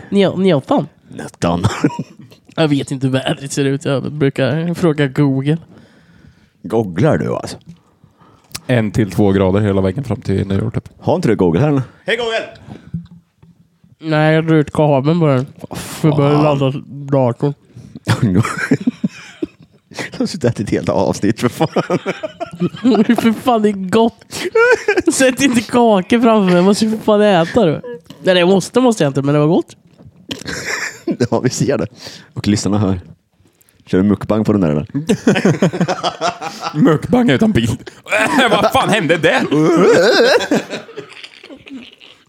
B: Nio- Nioton?
C: Nettan.
B: Jag vet inte hur vädret ser ut. Jag brukar fråga Google.
C: Googlar du alltså?
A: En till två grader hela vägen fram till nyår typ.
C: Har inte du Google här eller?
B: Nej, jag drar ut kabeln bara. För att börja ladda datorn.
C: Jag har suttit och ätit ett helt avsnitt för fan.
B: för fan, det är gott. Sätt inte kakor framför mig. Jag måste ju för fan äta du. Nej, det måste måste jag inte, men det var gott.
C: Ja, vi ser det. Och lyssnarna hör. Kör du mukbang på den där eller?
A: Mukbang utan bild. Vad fan hände där?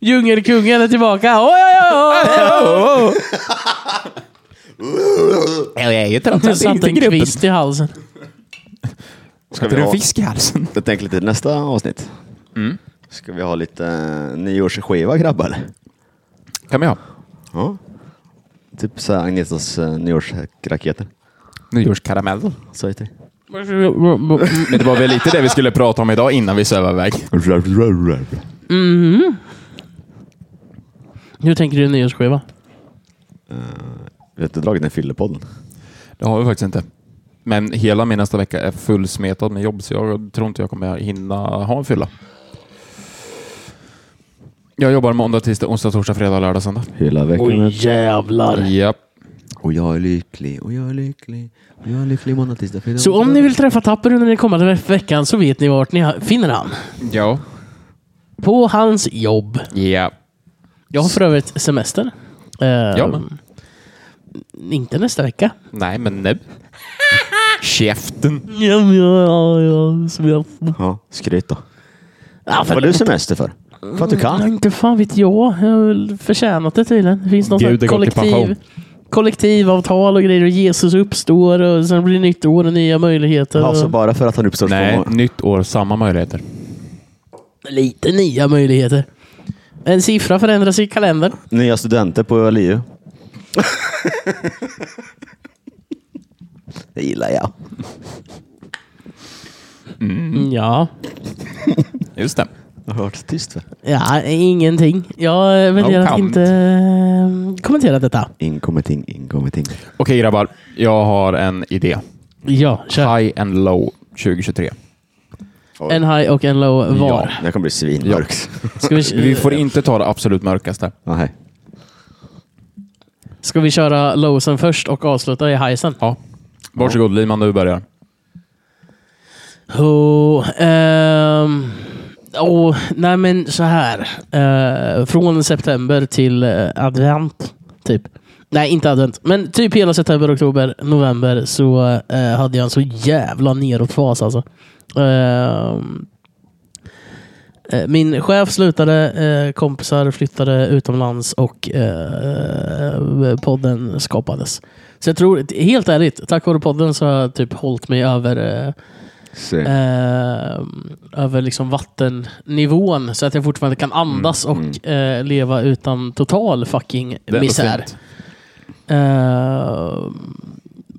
B: Djungelkungen är tillbaka. Oj, oj, oj, oj.
A: Jag är ju
B: Det
A: trots
B: satt en kvist i halsen.
C: Ska
A: Hade du en fisk i halsen?
C: Jag tänker lite nästa avsnitt. Ska vi ha lite eh, nyårsskiva grabbar?
A: Kan vi ha.
C: Ja. Typ så här Agnetas eh, nyårsraketer.
A: Nyårskaramell.
C: Sa jag till dig.
A: Men det var väl lite det vi skulle prata om idag innan vi sövade iväg.
B: Hur tänker du nyårsskiva?
C: Vi har inte dragit den fyllepodden.
A: Det har vi faktiskt inte. Men hela min nästa vecka är fullsmetad med jobb, så jag tror inte jag kommer hinna ha en fylla. Jag jobbar måndag, tisdag, onsdag, torsdag, fredag, lördag, söndag.
C: Hela veckan. Oj.
B: jävlar.
A: Japp.
C: Och jag är lycklig, och jag är lycklig. Och jag är lycklig måndag, tisdag, fredag.
B: Så om ni vill träffa Tapper under den kommande ve- veckan så vet ni vart ni ha- finner han.
A: Ja.
B: På hans jobb.
A: Ja.
B: Jag har för övrigt semester. Eh,
A: men.
B: Inte nästa vecka.
A: Nej, men nu. Käften.
B: Ja, men jag- ja, ja, som jag-
C: Ja, skryt då.
B: Ja, Mm.
C: Vad har du semester för? För att du
B: Ja,
C: kan?
B: inte fan vet jag. Jag har väl förtjänat det tydligen. Det finns något
A: Gud,
B: sånt
A: det
B: här
A: går till
B: kollektiv,
A: pension.
B: kollektivavtal och grejer. Och Jesus uppstår och sen blir det nytt år och nya möjligheter.
C: Alltså
B: och
C: bara för att han uppstår så
A: Nej,
C: får man-
A: nytt år, samma möjligheter.
B: Lite nya möjligheter. En siffra förändras i kalendern.
C: Nya studenter på LiU. det gillar jag.
A: Mm,
B: Ja.
A: Just det.
C: Jag har varit tyst för.
B: ja, ingenting. Jag väljer
A: No
B: att
A: comment.
B: inte eh, kommentera detta.
C: Inkommer ting, inkommer ting.
A: Okej grabbar, jag har en idé.
B: Ja, kör.
A: High and low 2023.
B: En high och en low var.
C: Det kommer bli svinmörkt.
B: Ska, vi,
A: Vi får inte ta det absolut mörkaste.
C: Ja. hej.
B: ska vi köra lowsen först och avsluta i highsen?
A: Ja. Varsågod Liman, du börjar.
B: Oh, ehm, oh, nej men så här. Eh, från september till eh, advent, typ. Nej, inte advent. Men typ hela september, oktober, november så eh, hade jag en så jävla neråtfas alltså. Ehm, eh, min chef slutade, eh, kompisar flyttade utomlands och eh, podden skapades. Så jag tror, helt ärligt, tack vare podden så har jag typ hållit mig över eh,
C: Se.
B: eh, över liksom vattennivån så att jag fortfarande kan andas och eh, leva utan total fucking
A: Mm, Det är
B: misär.
A: ändå fint.
B: Eh,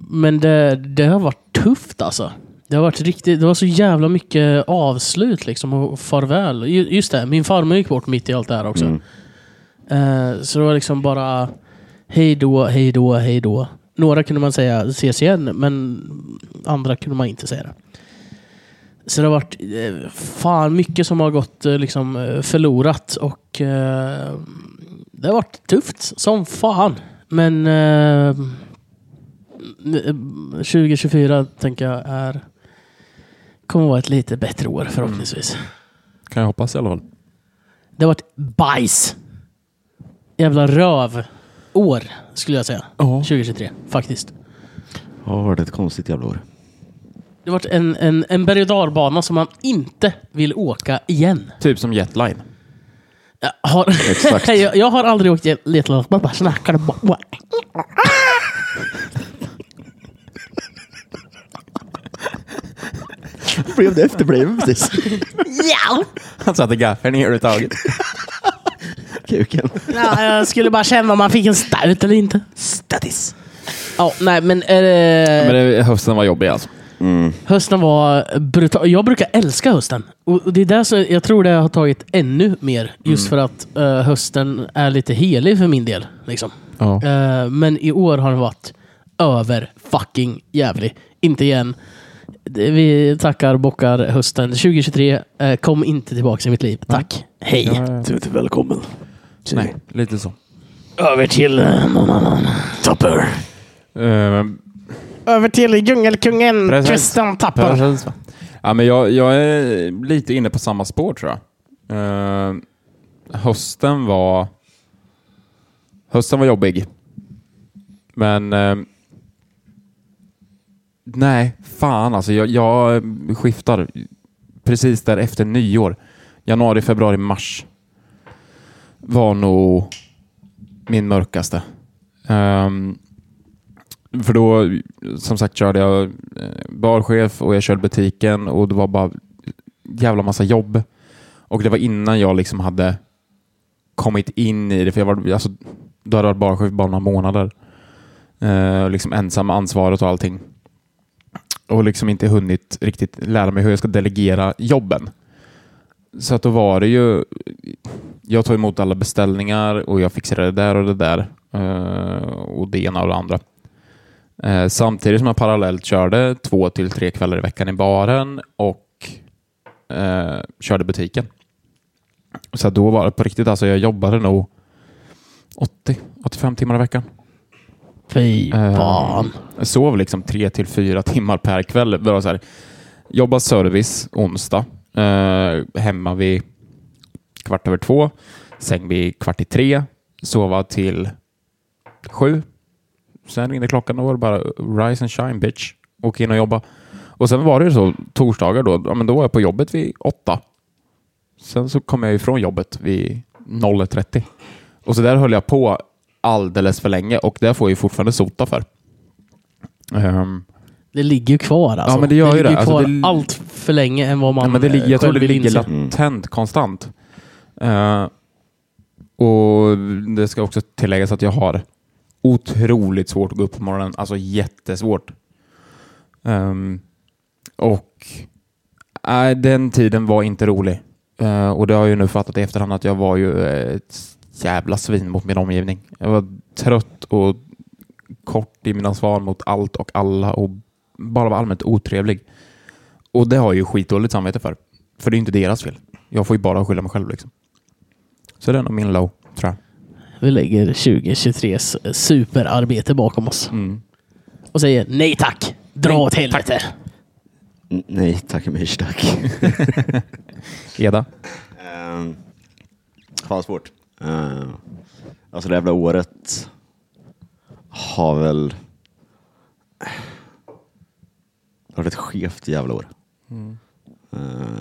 B: men det, det har varit tufft alltså. Det har varit riktigt, det var så jävla mycket avslut liksom och farväl. Ju- Just det, min farmor gick bort mitt i allt det här också. Eh, så det var liksom bara hej då, hej då, hej då. Några kunde man säga ses igen, men andra kunde man inte säga det. Så det har varit eh, fan mycket som har gått eh, liksom eh, förlorat och eh, det har varit tufft som fan. Men eh, 2024 tänker jag är kommer vara ett lite bättre år förhoppningsvis.
A: Kan jag hoppas i alla fall.
B: Det har varit bajs. Jävla röv. År skulle jag säga.
A: Ja.
B: 2023 faktiskt.
C: Har varit ett konstigt jävla år.
B: Det har varit en, en, en berg och dalbana som man inte vill åka igen.
A: Typ som Jetline.
B: Jag har,
C: Exakt.
B: jag, jag har aldrig åkt jetlag. Man bara snackar och bara...
C: Blev det efterbliven precis?
B: Ja!
A: Han satte gaffeln i överhuvudtaget.
B: Eh.
C: Kuken.
B: ja! Jag skulle bara känna om man fick en stout eller inte.
A: Statis.
B: Ja, nej, men, eh,
A: Men det, hösten var jobbig alltså.
B: hösten var brutal. Jag brukar älska hösten. Och och det är där som jag tror det har tagit ännu mer.
A: Mm.
B: Just för att eh, hösten är lite helig för min del. Liksom.
A: Ja.
B: Eh, men i år har den varit över fucking jävlig. Inte igen. Det- Vi tackar bockar hösten 2023. Eh, Kom inte tillbaka i mitt liv. Tack. Hej.
C: Du är inte välkommen.
A: Nej, lite så.
B: Över till... eh, någon annan.
C: Topper.
A: Ehm,
B: Över till djungelkungen
A: Precis.
B: Christian Tapper.
A: Precis. va? Ja, men jag, jag är lite inne på samma spår tror jag. Eh, hösten var Hösten var jobbig. Men eh, nej, fan alltså. Jag, jag skiftar precis där efter nyår. Januari, februari, mars var nog min mörkaste. Ehm, för då, som sagt, körde jag eh, barchef och jag körde butiken och det var bara jävla massa jobb. Och det var innan jag liksom hade kommit in i det, för jag var, alltså, då hade jag varit barchef bara några månader. Eh, liksom ensam med ansvaret och allting. Och liksom inte hunnit riktigt lära mig hur jag ska delegera jobben. Så att då var det ju, jag tog emot alla beställningar och jag fixade det där och det där. Eh, och det ena och det andra. Eh, samtidigt som jag parallellt körde två till tre kvällar i veckan i baren och eh, körde butiken. Så då var det på riktigt, alltså jag jobbade nog 80-85 timmar i veckan.
B: Fy
A: Eh,
B: fan.
A: Jag sov liksom tre till fyra timmar per kväll. Det var så här, jobba service onsdag, eh, hemma vid kvart över två, säng vid kvart i tre, sova till sju. Sen ringde klockan och då var det bara rise and shine bitch. Åk in och jobba. Och sen var det ju så torsdagar då, ja, men då var jag på jobbet vid åtta. Sen så kom jag ifrån jobbet vid 01.30. Och så där höll jag på alldeles för länge och det får jag ju fortfarande sota för. Ehm,
B: Det ligger ju kvar alltså.
A: Ja, men det gör ju
B: ligger
A: det. Alltså,
B: kvar
A: det-
B: allt för länge än vad man
A: ja, men det,
B: eh,
A: li- jag tror
B: själv
A: det
B: vill
A: ligger
B: inse.
A: latent konstant. Eh, och Det ska också tilläggas att jag har otroligt svårt att gå upp på morgonen. Alltså jättesvårt. Ehm, och nej, den tiden var inte rolig. Eh, och det har jag ju nu fattat i efterhand att jag var ju eh, ett jävla svin mot min omgivning. Jag var trött och kort i mina svar mot allt och alla och bara var allmänt otrevlig. Och det har jag ju skitdåligt samvete för. För det är ju inte deras fel. Jag får ju bara skylla mig själv liksom. Så det är nog min low, tror jag.
B: Vi lägger 2023s superarbete bakom oss.
A: Mm.
B: Och säger nej tack. Dra
A: Nej,
B: åt helvete.
C: Nej, tack men tack.
A: Eda?
C: Ehm, Fan svårt. Ehm, Alltså det jävla året har väl... Det har varit ett skevt jävla år. Ehm,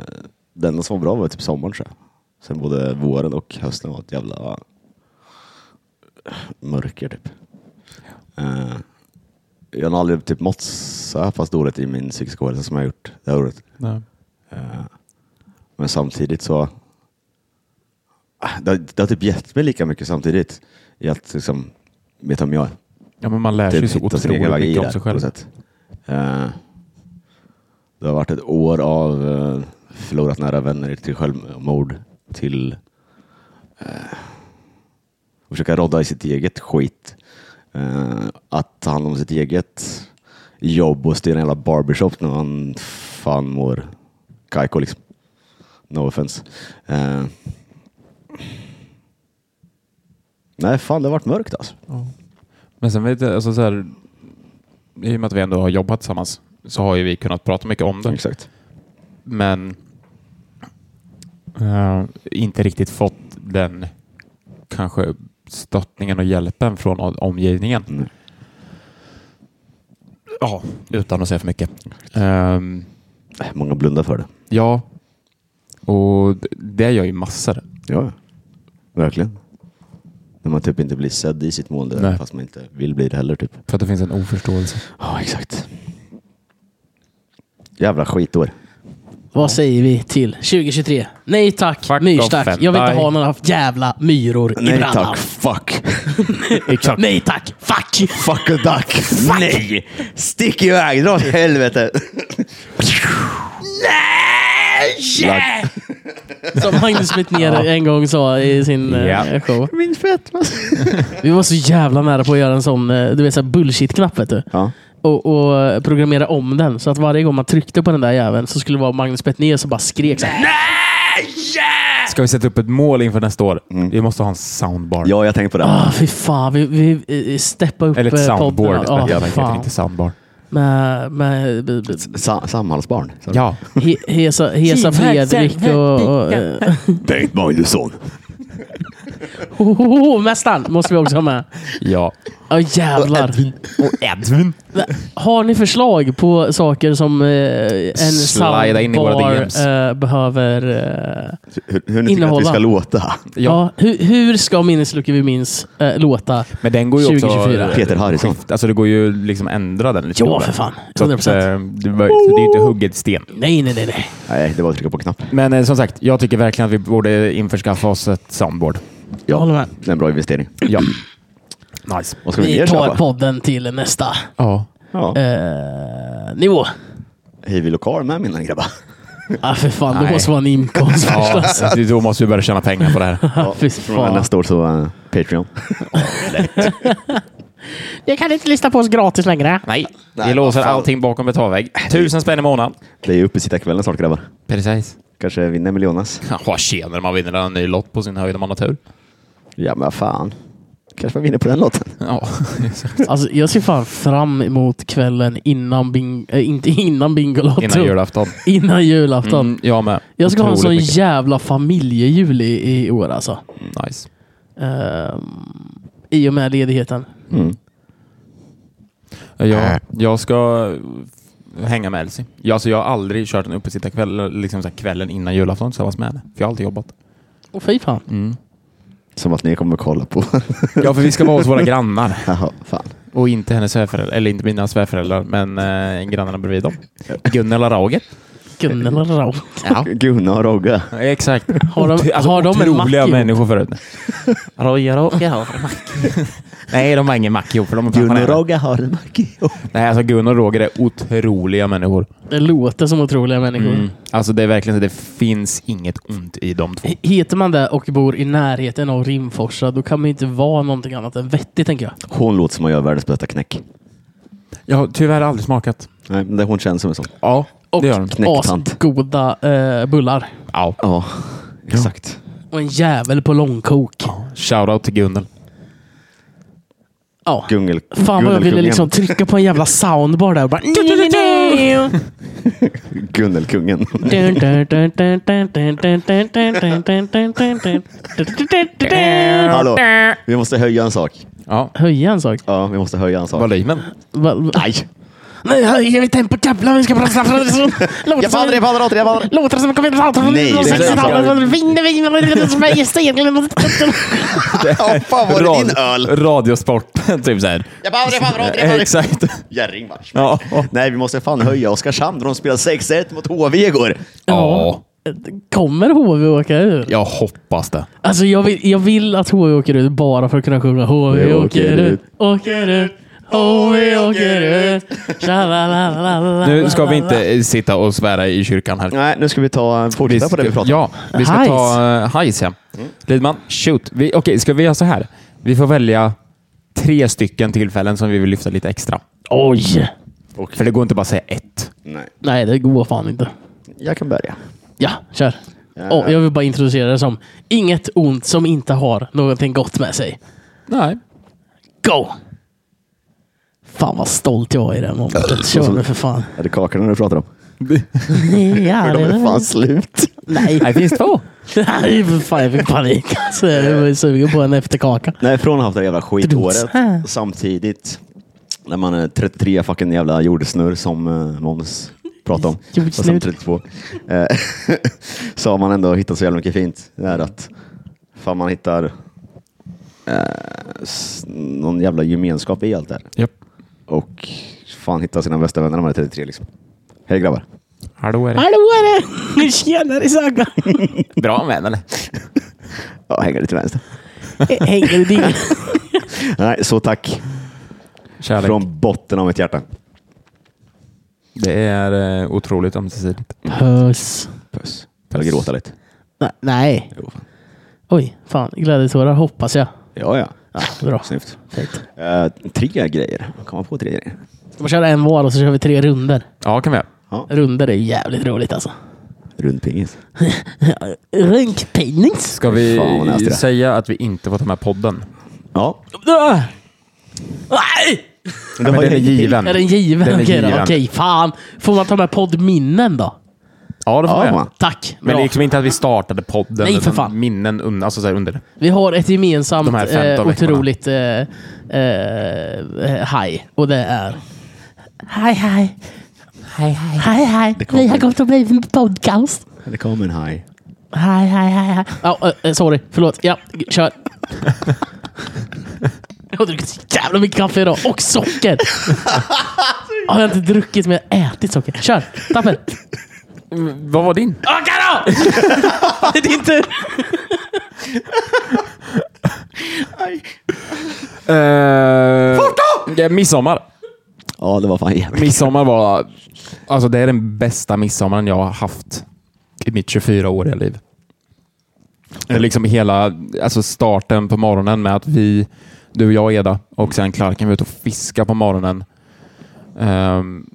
C: Det enda som var bra var typ sommaren tror jag. Sen både våren och hösten var ett jävla mörker typ. Ehm, Jag har aldrig typ mått så här pass dåligt i min psykiska ohälsa som jag har gjort det här året.
A: Nej.
C: Eh, Men samtidigt så... Ah, Det, har- det har typ gett mig lika mycket samtidigt i att liksom, veta om jag är.
A: Ja, men man lär sig ju
C: Typ
A: så
C: hitta sin egen
A: otroligt
C: väg i
A: mycket
C: det
A: om sig
C: här, på
A: själv.
C: något sätt. Eh, Det har varit ett år av eh, förlorat nära vänner till självmord, till eh, att försöka rodda i sitt eget skit. Eh, Att ta hand om sitt eget jobb och styra en jävla barbershop när man fan mår kajko liksom. No offense. Eh, Nej, fan det har varit mörkt alltså.
A: Men sen vet jag, alltså så här, i och med att vi ändå har jobbat tillsammans så har ju vi kunnat prata mycket om det.
C: Exakt.
A: Men eh, inte riktigt fått den kanske stöttningen och hjälpen från o- omgivningen.
C: Mm.
A: Ja, utan att säga för mycket. Ehm,
C: Nej, Många blundar för det.
A: Ja, och d- det gör ju massor.
C: Ja. Verkligen. När man typ inte blir sedd i sitt mående
A: Nej.
C: fast man inte vill bli det heller typ.
A: För att det finns en oförståelse.
C: Ja, exakt. Jävla skitår.
B: Vad säger vi till 2023? Nej tack,
A: Fuck off,
B: myrstack. Jag vill inte
A: bye.
B: ha några jävla myror i
C: Nej
B: brallan.
C: tack, fuck.
A: Exakt.
B: Nej tack, fuck!
C: Fuck a duck. Nej! Stick iväg, dra åt helvete.
B: Yeah! Som Magnus Betnér en gång sa i sin eh,
A: Ja.
B: show.
C: Min fetma.
B: Vi var så jävla nära på att göra en sån eh, du vet, så här bullshit-knapp. Vet du?
C: Ja.
B: Och, och eh, programmera om den. Så att varje gång man tryckte på den där jäveln så skulle det vara Magnus Betnér som bara skrek. Så här, Nej!
A: Ska vi sätta upp ett mål inför nästa år? Vi måste ha en soundbar.
C: Mm. ja, jag tänkte på det.
B: Ah, fy fan, vi, vi eh, steppar upp
A: Eller ett
B: eh,
A: soundboard.
B: podden. Ah,
A: jag heter
B: fan.
A: inte soundbar.
B: Med, med, med, med
C: Sa Samhällsbarn.
A: Ja.
B: he, Hesa, hesa Fredrik och... och eh,
C: Bengt Magnusson.
B: ho, ho, ho, mästaren måste vi också ha med.
A: ja.
B: Ja jävlar.
A: Och Edvin.
B: Har ni förslag på saker som eh, en
A: Slida in i våra DMs.
B: soundbar eh, behöver... Eh,
C: Hur, hur ni tycker att vi
B: Innehålla.
C: ska låta.
B: ja. hur, hur ska Minneslucka vi minns eh, låta?
A: Men den går ju också...
B: 2024.
C: Peter Harrison.
A: Alltså det går ju liksom ändra den lite.
B: Ja, för fan.
A: Så, att,
B: 100%.
A: eh, det, var, så det är ju inte hugget sten.
B: Nej, nej, nej. nej.
C: Nej, det var att trycka på knapp.
A: Men eh, som sagt, jag tycker verkligen att vi borde införskaffa oss ett soundboard.
B: Jag håller med.
C: Det är en bra investering.
A: Ja. Nice.
C: Vad ska vi mer
B: Vi tar
C: köpa?
B: podden till nästa
A: Ja.
C: Ja.
B: eh, nivå.
C: Hej, vi lokal med mina grabbar.
B: Ah, för fan,
A: Nej.
B: då måste man inkomst först.
A: ja.
B: Alltså.
A: det- Då måste vi börja tjäna pengar på det här.
B: Ja, fy
C: Från och med
B: fan.
C: nästa år så eh, Patreon.
B: Jag kan inte lyssna på oss gratis längre.
A: Nej, vi
C: Nej,
A: låser
C: vad fan.
A: allting bakom betalvägg. Tusen spänn i månaden.
C: Det är ju uppesittarkvällen snart grabbar.
A: Precis.
C: Kanske vinner med Jonas.
A: Ja, tjenare, man vinner en ny lott på sin höjd om man har tur.
C: Ja, men vad fan. Kanske man vinner på den låten.
A: Ja,
B: Alltså, jag ser fan fram emot kvällen innan, bing, eh, inte innan Bingolotto.
A: innan julafton.
B: Innan julafton.
A: Mm, jag med.
B: Jag ska ha en
A: Otroligt
B: sån
A: mycket.
B: jävla familjejul i, i år alltså.
A: Nice.
B: Ehm, I och med ledigheten.
C: Mm.
A: Jag, jag ska hänga med Elsie. Jag, alltså, jag har aldrig kört en uppesittarkväll liksom så här kvällen innan julafton tillsammans med henne. För jag har alltid jobbat.
B: Och fy fan.
A: Mm.
C: Som att ni kommer kolla på.
A: Ja, för vi ska vara hos våra grannar.
C: Jaha, fan.
A: Och inte hennes svärföräldrar, eller inte mina svärföräldrar, men eh, grannarna bredvid dem. Gunnel och Roger.
B: Gunnel och Raul.
A: Ja.
C: Gunnar och Rogge.
A: Exakt.
B: Har de-
A: Ot- alltså,
B: har de en
A: otroliga
B: mack ihop?
A: människor förut. Roger och Roger har en mack. Nej, de har ingen mack ihop, för de är pensionärer.
C: Rogge har en macki.
A: Nej, alltså Gun och Roger är otroliga människor.
B: Det låter som otroliga människor.
A: Mm. Alltså det är verkligen så, det finns inget ont i de två.
B: H- Heter man det och bor i närheten av Rimforsa, då kan man ju inte vara någonting annat än vettig, tänker jag.
C: Hon låter som att göra världens bästa knäck.
A: Jag har tyvärr aldrig smakat.
C: Nej, men det hon känns som en sån.
A: Ja,
B: Och
A: det gör de.
C: Knäcktant.
B: asgoda eh, bullar.
A: Ja.
C: Ja, exakt.
B: Och en jävel på långkok.
A: Shoutout till Gunnel.
B: Ja.
C: Gungel.
B: Fan vad jag ville
C: Gunnelkungen.
B: liksom trycka på en jävla soundbar där och bara...
C: Gunnelkungen. Hallå, vi måste höja en sak.
A: Ja.
B: Höja en sak.
C: Ja, vi måste höja en sak.
A: Volymen.
B: Va- va-
C: Nej!
B: Nej, höjer vi tempot jävlar. Vi ska prata om låtar
C: Jag faller, jag
B: som...
C: faller åter, jag faller.
B: Låtar som kom in från 1860-talet. Vinner vi, Maja Stenlund.
C: Ja, fan var det din öl?
A: Radiosport. typ såhär.
C: Jag faller, jag faller åter, jag faller.
A: Exakt.
C: Jerring vars.
A: Ja.
C: Nej, vi måste fan höja Oskarshamn där de spelade 6-1 mot HV igår.
A: ja.
B: Kommer HV åka ur?
A: Jag hoppas det.
B: Alltså jag vill, jag vill att HV åker ut bara för att kunna sjunga HV åker ut, åker ut, HV åker ut. Tja-la-la-la-la.
A: Nu ska vi inte eh, sitta och svära i kyrkan här.
C: Nej, nu ska vi ta fortsätta på det vi pratade om. Mm.
A: Ja, vi ska
B: Hajs.
A: ta uh, hajs. Ja. Lidman, shoot. Vi, Okej, ska vi göra så här? Vi får välja tre stycken tillfällen som vi vill lyfta lite extra.
B: Oj!
A: För det går inte bara att säga ett.
C: Nej,
B: Nej, det går fan inte.
C: jag kan börja.
B: Ja, kör. Åh, jag vill bara introducera det som inget ont som inte har någonting gott med sig.
A: Nej.
B: Go! Fan vad stolt jag är i det här momentet. Kör nu för fan.
C: Är det kakorna du pratar om?
B: Ja,
C: De
B: det
C: är fan slut.
B: Nej.
A: Det finns två.
B: Nej, för fan jag fick panik. Alltså, jag var sugen på en efterkaka.
C: Nej, från att ha haft det jävla skitåret samtidigt när man är 33 fucking jävla jordsnurr som eh, Måns pratade om.
B: Jordsnurr.
C: Och sen 32. eh, så har man ändå hittat så jävla mycket fint. Det är att Fan, man hittar eh, s- någon jävla gemenskap i allt det här.
A: Japp.
C: Och fan hittar sina bästa vänner när man är 33 liksom. Hej grabbar.
A: Hallå är det.
B: Hallå är det! Tjenare Saga!
A: Bra med eller?
C: Ja, hänger lite vänster.
B: Hänger du dit?
C: Nej, så tack.
A: Kärlek.
C: Från botten av mitt hjärta.
A: Det är eh, otroligt ömsesidigt.
B: Puss.
C: Puss. Jag gråta lite.
B: Nej, Nej.
C: Jo, fan.
B: Oj, fan. Glädjetårar hoppas jag.
C: Ja, ja. ja
B: Bra.
C: Snyggt.
B: Fint.
C: Eh, tre grejer. Komma på tre grejer.
B: Man kör en var och så kör vi tre runder.
A: Ja, kan vi göra.
B: Runder är jävligt roligt alltså.
C: Rundpingis.
B: Runkpinnings.
A: Ska vi
C: Fan, vad nästa det är.
A: säga att vi inte får ta med podden?
C: Ja.
B: Nej!
A: Men den är given.
B: Är den given?
A: Mm. Den är
B: Okej, då.
A: given.
B: Okej, fan. Får man ta med poddminnen då?
A: Ja, det får
C: Ja,
A: jag.
C: man.
B: Tack.
A: Men
B: Bra.
A: liksom inte att vi startade podden.
B: Nej, för
A: utan
B: fan.
A: Minnen un, alltså så här under.
B: Vi har ett
A: De här
B: gemensamt
A: 15
B: eh,
A: veckorna.
B: otroligt eh, eh, haj och det är... Hej hej! Hej hej! Hej hej!
C: kommer. Vi har gått
B: och blivit en podcast.
C: Det kom en haj.
B: Hej hej hej hej! Ja, eh, sorry, förlåt. Ja, g- kör. Jag har druckit så jävla mycket kaffe idag och socker! Har jag inte druckit men jag har ätit socker. Kör! Tappen!
A: Vad var din?
B: Åka då! Det är din tur!
A: Uh, Forta! Midsommar.
C: Ja, det var fan jävligt.
A: Midsommar var... Alltså det är den bästa midsommaren jag har haft i mitt 24-åriga liv. Det är liksom hela alltså starten på morgonen med att vi, du och jag och Eda och sen Clarken var ute och fiska på morgonen. Ehm,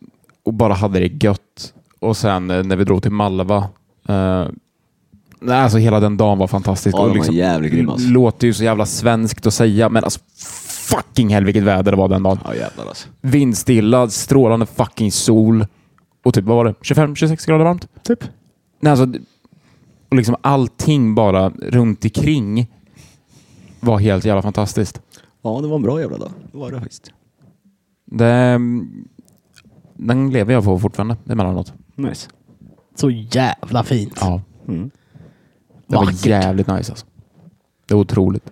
A: och bara hade det gött. Och sen eh, när vi drog till Malva. eh, nej, alltså hela den dagen var fantastisk.
C: Ja, den
A: och
C: var
A: liksom,
C: jävligt grym, alltså.
A: Låter ju så jävla svenskt att säga, men alltså fucking helviket väder det var den dagen.
C: Ja, jävlar alltså.
A: Vindstilla, strålande fucking sol och typ, vad var det? 25-26 grader varmt?
C: Typ.
A: Nej, alltså, d- och liksom allting bara runt omkring var helt jävla fantastiskt.
C: Ja, det var en bra jävla dag. Det var det faktiskt.
A: Det, mm, den lever jag på fortfarande emellanåt.
C: Nice.
B: Så jävla fint.
A: Ja.
C: Mm.
A: Det
B: Vackert.
A: var jävligt nice alltså. Det var otroligt.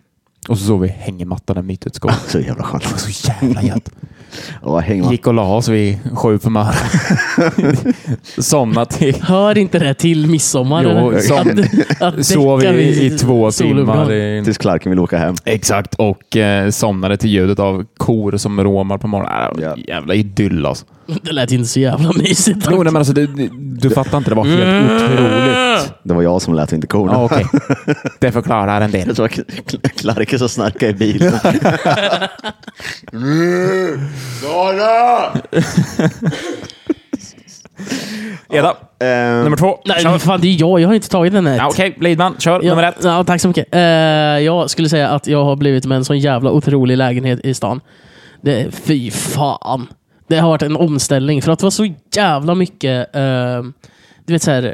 A: Och så såg vi hängmattan där mitt ute i skogen.
C: Så jävla skönt.
A: Det var så jävla gött.
C: Ja, häng man.
A: Gick och la oss vid sju på morgonen. Somnade till
B: Hör inte det till midsommar?
A: Jo,
B: eller?
A: som-
B: att, att
A: Sov i,
B: däcka
A: i
B: vid
A: två
B: soluppgång.
A: timmar. i-
C: Tills Clarken vill åka hem.
A: Exakt, och eh, somnade till ljudet av kor som råmar på morgonen. Äh,
C: Ja.
A: jävla idyll alltså.
B: Det lät inte så jävla mysigt.
A: Jo, nej, men alltså du, du, du fattar inte, det var helt otroligt.
C: Det var jag som lät inte korna.
A: Mm. Ja, okej. Det förklarar en del.
C: Jag tror att Cl- Clarken som snarkade i bilen. Sara!
A: Eda,
C: Ehm,
A: nummer två.
B: Nej,
A: Kör.
B: men fan det är jag. Jag har inte tagit den här.
A: Ja, Okej, Lidman, kör
B: Ja,
A: nummer ett.
B: Ja, tack så mycket. Eh, jag skulle säga att jag har blivit med en sån jävla otrolig lägenhet i stan. Det, fy fan. Det har varit en omställning för att det var så jävla mycket, eh, du vet så här, eh,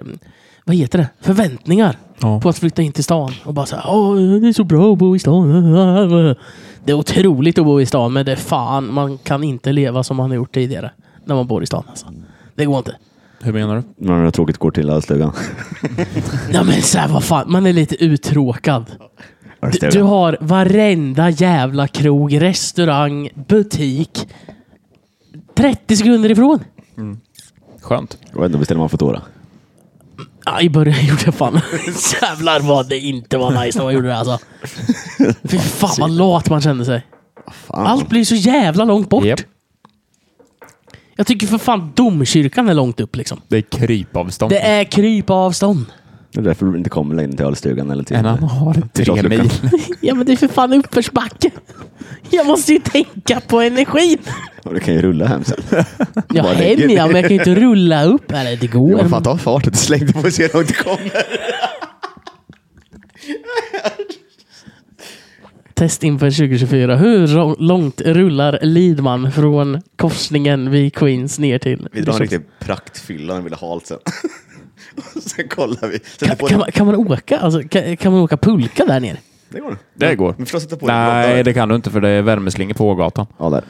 B: vad heter det? Förväntningar
A: Ja.
B: på att flytta in till stan. Och bara så här, "Åh, det är så bra att bo i stan. Det är otroligt att bo i stan, men det är fan, man kan inte leva som man har gjort tidigare när man bor i stan. Alltså. Det går inte.
A: Hur menar du?
C: Men vad tråkigt går till i stugan.
B: Ja, men så här, vad fan, man är lite uttråkad. Du, du har varenda jävla krog, restaurang, butik 30 sekunder ifrån.
A: Skönt.
C: Jag vet inte, beställer man fotora?
B: Ja, I början gjorde jag fan... Jävlar vad det inte var nice när man gjorde det alltså. Fy fan vad lat man kände sig.
C: Fan.
B: Allt blir så jävla långt bort.
A: Japp.
B: Jag tycker för fan domkyrkan är långt upp liksom.
A: Det är krypavstånd.
B: Det är krypavstånd.
C: Det är därför du inte kommer längre till ölstugan eller till...
A: En annan har tre
C: Förslagsluckan.
A: mil.
B: Ja men det är för fan uppförsbacke. Jag måste ju tänka på energin.
C: Och Du kan ju rulla hem sen.
B: Ja,
C: Bara
B: hem
C: lägger
B: ja,
C: dig.
B: men jag kan ju inte rulla upp. Eller det går.
C: Ja, fan ta fart och släng dig på se hur långt du kommer.
B: Test inför 2024. Hur rå- långt rullar Lidman från korsningen vid Queens ner till...
C: Vi drar en
B: Bishops-
C: riktig praktfylla när vi vill ha allt sen. Och sen kollar vi. Sätter
B: Kan,
C: på
B: kan,
C: det.
B: man, kan man åka alltså, kan, kan man åka pulka där nere?
C: Det går.
A: Det går.
C: Vi får sätta på
A: Nej,
C: det.
A: det kan du inte för det är värmeslingor på gatan.
C: Ja, där.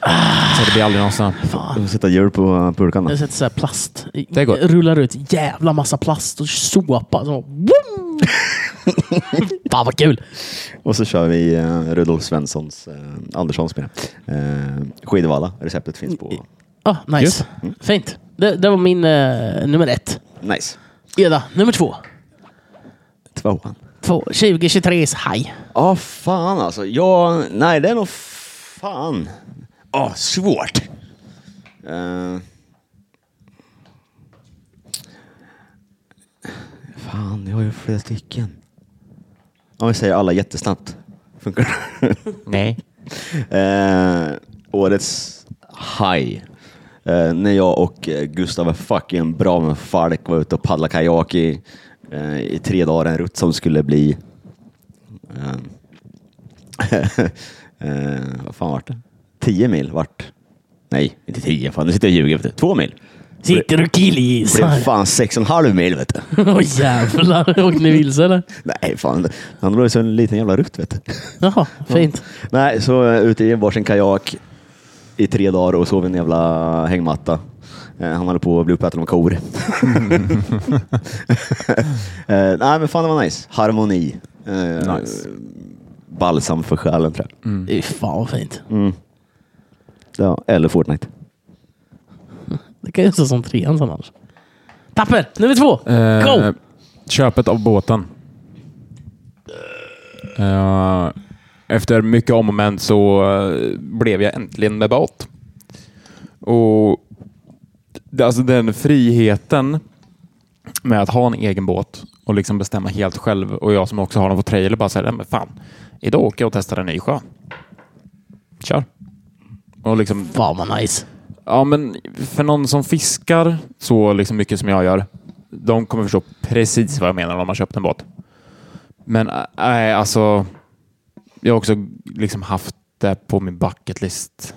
A: Så det blir aldrig någon sån.
C: Vi får sätta hjul på eh, burkarna.
B: Jag sätter så här plast.
A: Det går.
B: Rullar ut jävla massa plast och såpa. Så, boom! Fan vad kul!
C: Och så kör vi eh, Rudolf Svenssons, eh, Anderssons menar jag. eh, Skidvalla. Receptet finns på...
B: Ah, nice.
A: Just.
B: Fint. Det, det var min eh, nummer ett.
C: Nice.
B: Eda, nummer två.
C: Tvåan.
B: två 2023s haj.
C: Ja, fan alltså. Ja, nej, det är nog fan. Ja, svårt. Eh. Fan, jag har ju flera stycken. Om vi säger alla jättesnabbt. Funkar det?
A: Nej.
C: Eh, årets haj. Eh, när jag och eh, Gustav fucking bra med Falk var ute och paddlade kajak i, eh, i tre dagar, en rutt som skulle bli... Eh, eh, vad fan vart det? Tio mil vart? Nej, inte tio. Fan, nu sitter jag och ljuger. Vet du. Två mil.
B: Sitter och
C: Det blev
B: killgissar.
C: fan sex och en halv mil vet du.
B: Åh jävlar, åkte ni vilse eller?
C: Nej, fan. Han låg ju som en liten jävla rutt vet du.
B: Jaha, fint.
C: Nej, så eh, ute i varsin kajak i tre dagar och sov i en jävla hängmatta. Eh, Han håller på att bli uppäten av kor. Eh, Nej, men fan det var nice. Harmoni. Eh,
A: Nice.
C: Balsam för själen tror jag.
B: Mm. Fan vad fint.
C: Ja, eller Fortnite.
B: Det kan ju stå som trean sen annars. Tapper, nummer två.
A: Eh,
B: Go!
A: Köpet av båten. Eh, efter mycket om och men så eh, blev jag äntligen med båt. Och det- alltså den friheten med att ha en egen båt och liksom bestämma helt själv och jag som också har den på trailer bara säger, men fan, idag åker jag och testar en ny sjö. Kör. Och liksom
B: Fan vad nice.
A: Ja, men för någon som fiskar så liksom mycket som jag gör, de kommer förstå precis vad jag menar om man köpt en båt. Men äh, nej, alltså. Jag har också liksom haft det på min bucket list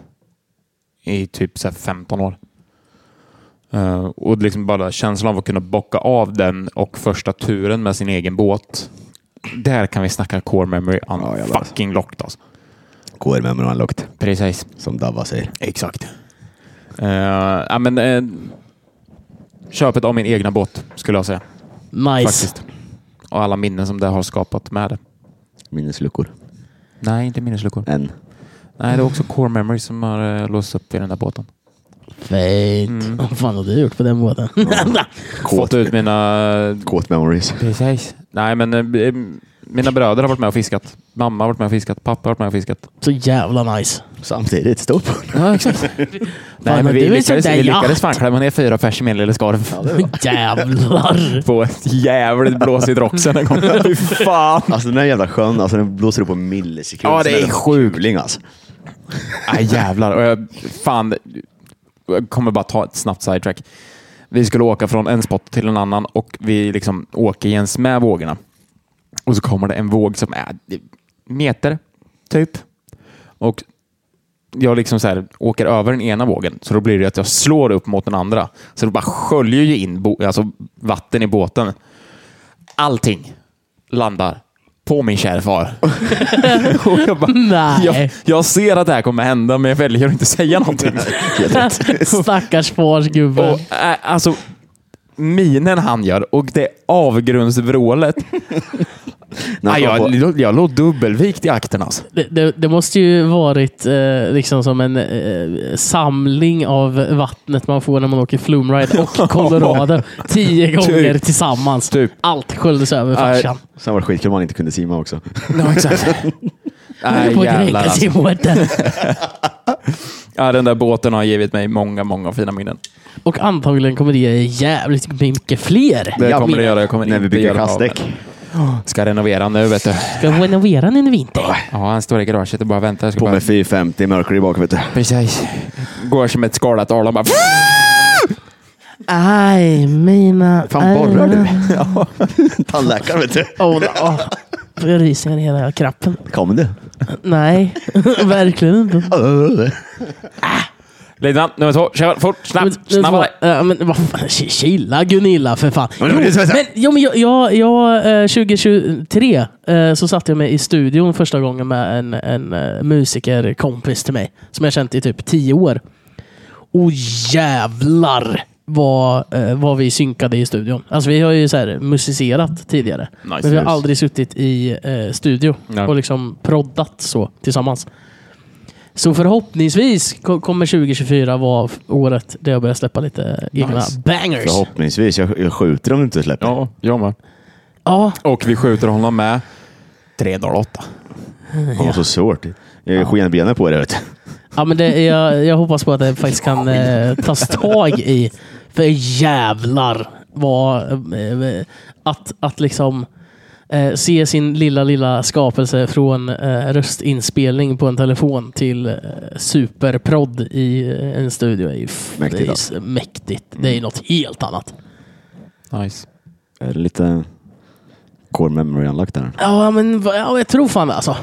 A: i typ så här 15 år. Eh, och liksom bara känslan av att kunna bocka av den och första turen med sin egen båt. Där kan vi snacka core memory
C: Ja,
A: on
C: jävlar.
A: fucking locked alltså.
C: Går med med unlocked,
A: Precis.
C: som Davva säger.
A: Exakt. Eh, ja, men, eh, köpet av min egna båt skulle jag säga.
B: Nice.
A: Faktiskt. Och alla minnen som det har skapat med det.
C: Minnesluckor.
A: Nej, inte minnesluckor.
C: En.
A: Nej, det är också core memories som har eh, låsts upp i den där båten.
B: Fint.
A: Mm.
B: Vad fan har du gjort på den båten?
A: Fått ut mina...
C: Kåt memories.
A: Precis. Nej, men eh, mina bröder har varit med och fiskat. Mamma har varit med och fiskat. Pappa har varit med och fiskat.
B: så jävla nice.
C: Samtidigt, stopp.
A: Ja, exakt. Nej, men
B: men
A: vi
B: du är
A: lyckades,
B: sån där
A: vi lyckades
B: jakt.
A: fan klämma ner fyra pers i min lilla skarv.
B: Jävlar.
A: På ett jävligt blåsigt rocksen en gång. Fy fan!
C: Alltså den här jävla sjön, alltså, den blåser upp på en millisekund.
A: Ja, det
C: Sen
A: är
C: en
A: sjukt.
C: kuling, Alltså.
A: Nej jävlar. Och jag, fan, jag kommer bara ta ett snabbt sidetrack. Vi skulle åka från en spot till en annan och vi liksom åker jäms med vågorna. Och så kommer det en våg som är meter, typ. Och jag liksom så här, åker över den ena vågen, så då blir det att jag slår upp mot den andra. Så det bara sköljer ju in bo- alltså vatten i båten. Allting landar på min kära far. och jag bara,
B: Nej.
A: jag, jag ser att det här kommer hända, men jag väljer att inte säga någonting.
B: Stackars fars gubbe.
A: och, äh, alltså, minen han gör och det avgrundsvrålet.
C: När
A: Nej,
C: jag kom
A: jag,
C: på-
A: jag, låg dubbelvikt i akten alltså.
B: Det, det, det måste ju varit eh, liksom som en eh, samling av vattnet man får när man åker Flumride och Colorado. Tio gånger
A: Typ.
B: tillsammans.
A: Typ.
B: Allt sköljdes över farsan.
C: Sen var det skitkul om man inte kunde simma också.
A: No, exakt.
B: Höll
A: Nej,
B: på typ.
A: Äh,
B: att
A: jävlar
B: dränkas
A: alltså.
B: i båten.
A: ja, Den där båten har givit mig många, många fina minnen.
B: Och antagligen kommer det ge jävligt mycket fler.
A: Det
C: Ja,
A: kommer
C: men-
A: det göra. Jag kommer
C: När vi
A: inte
C: bygger
A: göra av med
C: kastdäck.
A: det. Ska renovera nu, vet du.
B: Ska vi renovera den i vinter?
A: Ja, han står i garaget och bara väntar. Jag ska
C: På
A: bara...
C: med 450 Mercury bak vet du.
A: Precis. Går som ett skalat arlon bara...
B: Aj, mina...
C: Fan borrar du? Tandläkaren vet du.
B: Åh, åh. Jag ryser i hela kroppen.
C: Kom du?
B: Nej, verkligen inte.
A: Linan, nummer två. Kör fort, snabbt,
B: Men- men-
A: snabbare.
B: Ja, men vad fan, chi- chilla Gunilla för fan.
C: Men det var det som jag sa.
B: men, jo, men jag, jag, jag, eh, 2023 eh, så satte jag mig i studion första gången med en, en eh, musikerkompis till mig. Som jag känt i typ tio år. Och jävlar vad, eh, vad vi synkade i studion. Alltså vi har ju så här musicerat tidigare.
A: Nice.
B: men vi har
C: Yes.
B: aldrig suttit i eh, studio
A: Nej.
B: och liksom proddat så tillsammans. Så förhoppningsvis ko- kommer 2024 vara f- året där jag börjar släppa lite egna
A: Nice.
B: bangers.
C: Förhoppningsvis. Jag, jag skjuter om du inte släpper.
A: Ja, jag med.
B: Ja,
A: Och vi skjuter honom med 3,08.
C: Det var så svårt. Jag är skenbenen på det. Vet du.
B: Ja, men det, jag, jag hoppas på att det faktiskt kan eh, tas tag i. För jävlar vad... Eh, att, att liksom eh, se sin lilla, lilla skapelse från eh, röstinspelning på en telefon till eh, superprodd i eh, en studio är ju f-
C: Mäktigt,
B: det är
C: alltså.
B: s- mäktigt. Det är ju något helt annat.
A: Nice.
C: Är det lite core memory unlocked där?
B: Ja, men va- ja, jag tror fan det alltså.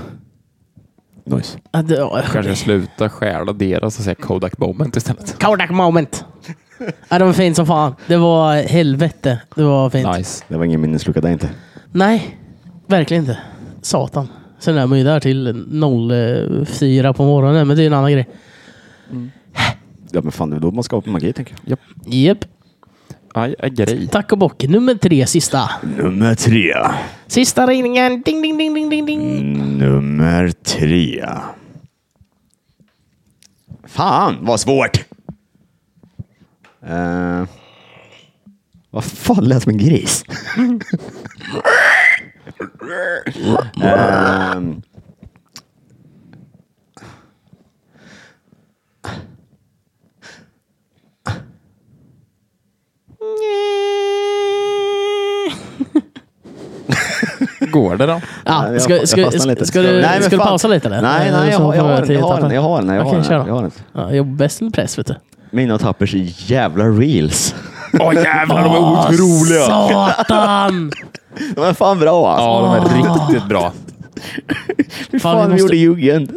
C: Nice.
B: Att det- ja,
A: Kanske sluta stjäla deras och säga Kodak Moment istället.
B: Kodak moment. Ja, det var fint som fan. Det var helvete. Det var fint.
A: Nice.
C: Det var ingen minneslucka där inte.
B: Nej, verkligen inte. Satan. Sen är man ju där till 04 på morgonen, men det är en annan grej.
C: Ja men fan, det är då man skapar magi tänker
B: Jep.
A: Aj, aj, grej.
B: Tack och bock. Nummer tre, sista.
C: jag. Nummer tre.
B: Sista ringningen. Ding, ding, ding, ding, ding,
C: Mm.
B: ding.
C: Nummer tre. Fan vad svårt! Eh, vad fan lät som en gris? Ehm.
A: Går det då?
B: Ah,
C: jag-
B: ska,
C: jag
B: ska,
C: fastnade lite.
B: ska, ska du,
C: Nej, men
B: ska du
C: fan.
B: pausa lite? Eller?
C: Nej, nej, jag
B: Så
C: har- jag
B: får
C: har
B: jag
C: den,
B: till
C: jag har
B: etappen.
C: den, jag har den, jag
B: Okej,
C: har den,
B: kör
C: jag har den.
B: då. Ja, jag är bäst under press, vet du.
C: Mina och Tappers jävla reels.
A: Åh jävlar, de är
B: Satan!
C: De är fan bra alltså.
A: Ja, de är riktigt bra.
C: Fy
B: Fan,
C: fan,
B: vi
C: vi
B: måste-
C: gjorde jugend.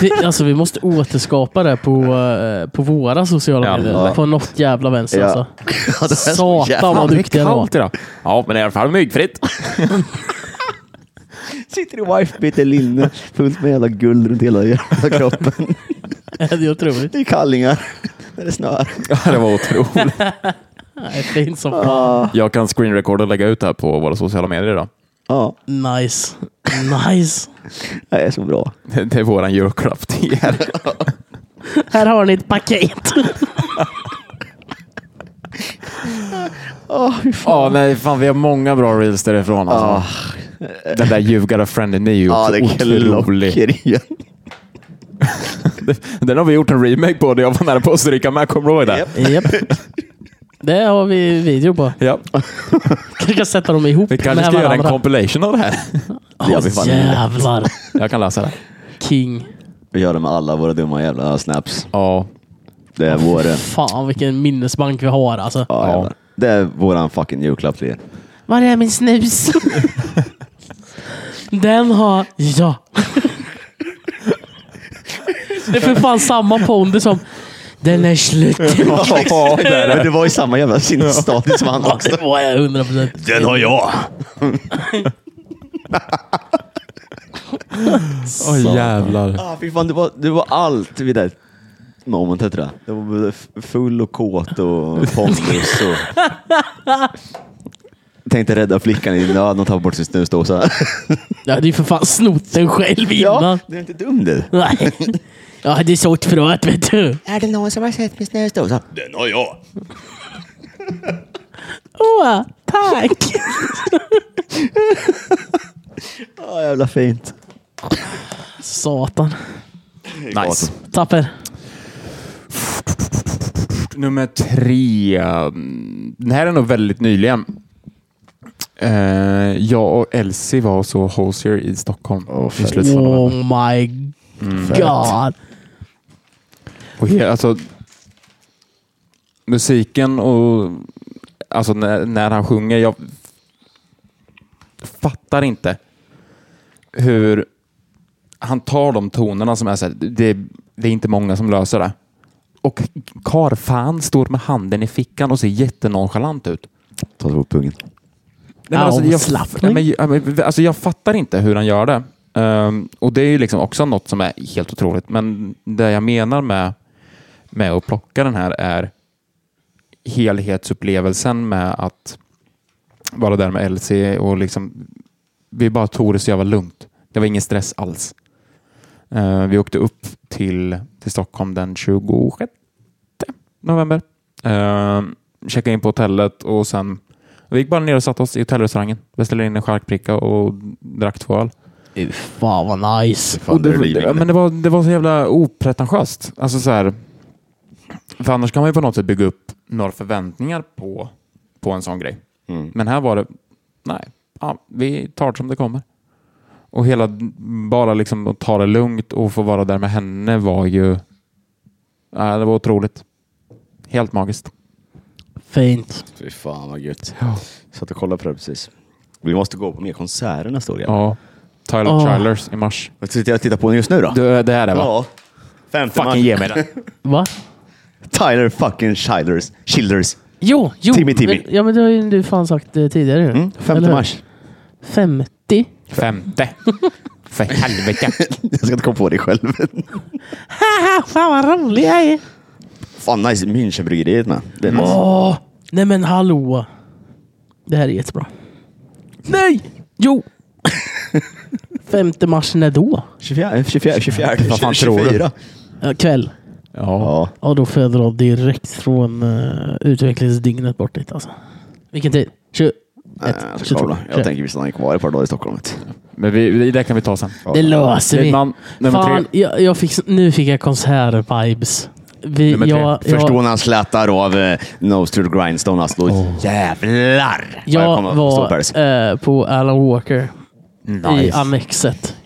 B: Det, alltså, vi måste återskapa det på, eh, på våra sociala
A: Ja.
B: medier. På något jävla vänster
C: Ja.
B: alltså.
C: Ja, det är så jävla-
B: Satan vad duktiga de var.
A: Kallt idag. Ja, men i alla fall myggfritt.
C: Sitter i wifebeater linne, fullt med jävla guld runt hela jävla kroppen.
B: Det är otroligt.
C: I kallingar, när det snöar.
A: Ja, det var otroligt.
B: Nej, Fint som fan.
A: Jag kan screenrecorda och lägga ut det här på våra sociala medier idag.
C: Ja,
B: Nice. Nice.
C: det är så bra.
A: Det det är våran julklapp till er.
B: Här har ni ett paket.
A: Ja, nej, fan vi har många bra reels därifrån. Alltså. Den där You got a friend in me är ju
C: Ja,
A: också
C: det är
A: otrolig.
C: klockrent.
A: Den har vi gjort en remake på där jag var nära på att stryka med. Kommer du ihåg det?
C: Japp.
B: Japp. Det har vi video på.
A: Ja.
B: Kanske kan sätta dem ihop
A: Vi kanske
B: med
A: ska göra en
B: varandra.
A: compilation av det här.
C: Det gör vi
B: Åh,
C: fan inte.
B: jävlar.
A: Jag kan läsa det.
B: King.
C: Vi gör det med alla våra dumma jävla snaps.
A: Ja,
C: Det är vår...
B: Fan vilken minnesbank vi har alltså.
C: Ja, jävlar. Det är våran fucking julklapp till er.
B: Var är min snus? Den har... Ja. Det är för fan samma pondus som... Den är slut.
C: Ja, det, är det. det var ju samma jävla sinnesstatus som han också.
B: Det var jag 100 procent.
C: Den har jag!
A: Åh jävlar.
C: Ah, fy fan, det, var, det var allt vid det momentet. Det, där. det var både f- full och kåt och pondus. Och... Tänkte rädda flickan i nöden och ta bort sin snusdosa.
B: Jag hade ju för fan snott den själv
C: ja,
B: innan.
C: du är inte dum du.
B: Nej. Jag hade sålt fröet vet du.
C: Är det någon som har sett min snusdosa? Den har jag.
B: Åh, tack!
C: Ja, jävla fint.
B: Satan.
A: Nice.
B: Tapper.
A: Nummer tre. Mm, Den här är nog väldigt nyligen. Eh, jag och Elsie var och så Hosier i Stockholm i slutet av november.
B: Oh my
C: Mm.
B: god.
A: Och he, alltså, musiken och alltså, när, när han sjunger, jag fattar inte hur han tar de tonerna som är så här, det, det är inte många som löser det. Och karfan står med handen i fickan och ser jättenonchalant ut.
C: Ta två pungen.
A: Nej, men alltså, jag,
B: Avslappning.
A: nej, men, ja, men, alltså, jag fattar inte hur han gör det. Ehm, och det är ju liksom också något som är helt otroligt. Men det jag menar med, med att plocka den här är helhetsupplevelsen med att vara där med Elsie och liksom, vi bara tog det så jävla lugnt. Det var ingen stress alls. Eh, vi åkte upp till, till Stockholm den 26 november. Eh, checkade in på hotellet och sen vi gick bara ner och satte oss i hotellrestaurangen. Beställde in en charkbricka och drack två öl.
B: Fy Fan vad nice.
C: Fan, det är living.
A: Ja, men det, var, det var så jävla opretentiöst. Alltså så här, för annars kan man ju på något sätt bygga upp några förväntningar på, på en sån grej.
C: Mm.
A: Men här var det, nej, ja, vi tar det som det kommer. Och hela, bara liksom att ta det lugnt och få vara där med henne var ju, ja, det var otroligt. Helt magiskt.
B: Fint.
C: Fy fan vad gött.
A: Ja.
C: Satt och kollade på det precis. Vi måste gå på mer konserter nästa år igen.
A: Ja. Tyler
B: Åh.
A: Childers i mars.
C: Vad sitter jag och tittar på just nu då?
A: Du, det här är va?
C: ja. Femte
A: Fucking
C: mars.
A: ge mig den.
B: Va?
C: Tyler fucking Childers. Childers.
B: Jo, jo.
C: Timmy, Timmy.
B: Men, ja, men det har ju du fan sagt eh, tidigare. ju.
C: Mm,
B: Eller
C: 5
B: hur?
C: mars.
B: 50.
A: Femte. För helvete.
C: Jag ska inte komma på det själv.
B: Haha, fan vad rolig jag är.
C: Fan nice. Münchenbryggeriet med. Det är nice.
B: Åh, nej men hallå. Det här är jättebra. Nej! Jo! 5 mars när då? eh,
C: 24, 24, 24,
A: Vad fan tror du?
C: 24.
B: Ja, kväll.
A: Ja.
C: Ja.
B: Ja, då får jag dra direkt från eh, utvecklingsdygnet bort dit alltså. Vilken tid? 21?
C: Nej, Jag, ska kolla. jag tänker vi stannar kvar ett par dagar i Stockholm. vet du.
A: Men vi, det kan vi ta sen.
B: Det löser Alltså, vi.
A: Lidman, nummer
B: Fan,
A: tre.
B: jag, jag fick, nu fick jag konsert-vibes. Vi,
A: Nummer tre.
B: jag,
C: Förstå
B: jag,
C: när han slätar av eh, Nose to the Grindstone. Alltså, Jävlar! vad
B: jag
C: kommer att stå på
B: var
C: det.
B: eh, på Alan Walker i
A: Nice.
B: Annexet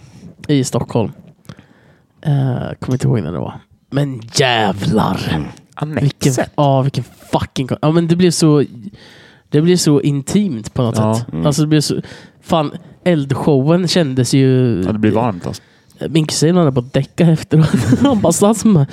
B: i Stockholm. Eh, kommer inte ihåg när det var. Men
A: Mm.
B: jävlar! Vilken,
A: Annexet.
B: ja, vilken fucking... kon- Ja, men det blev så... Det blev så intimt på något
A: Ja. Mm.
B: sätt. Alltså det blev så... Fan, eldshowen kändes ju...
A: Ja, det blir varmt alltså.
B: Min kusin hade på att däcka efteråt. Han bara satt som bara,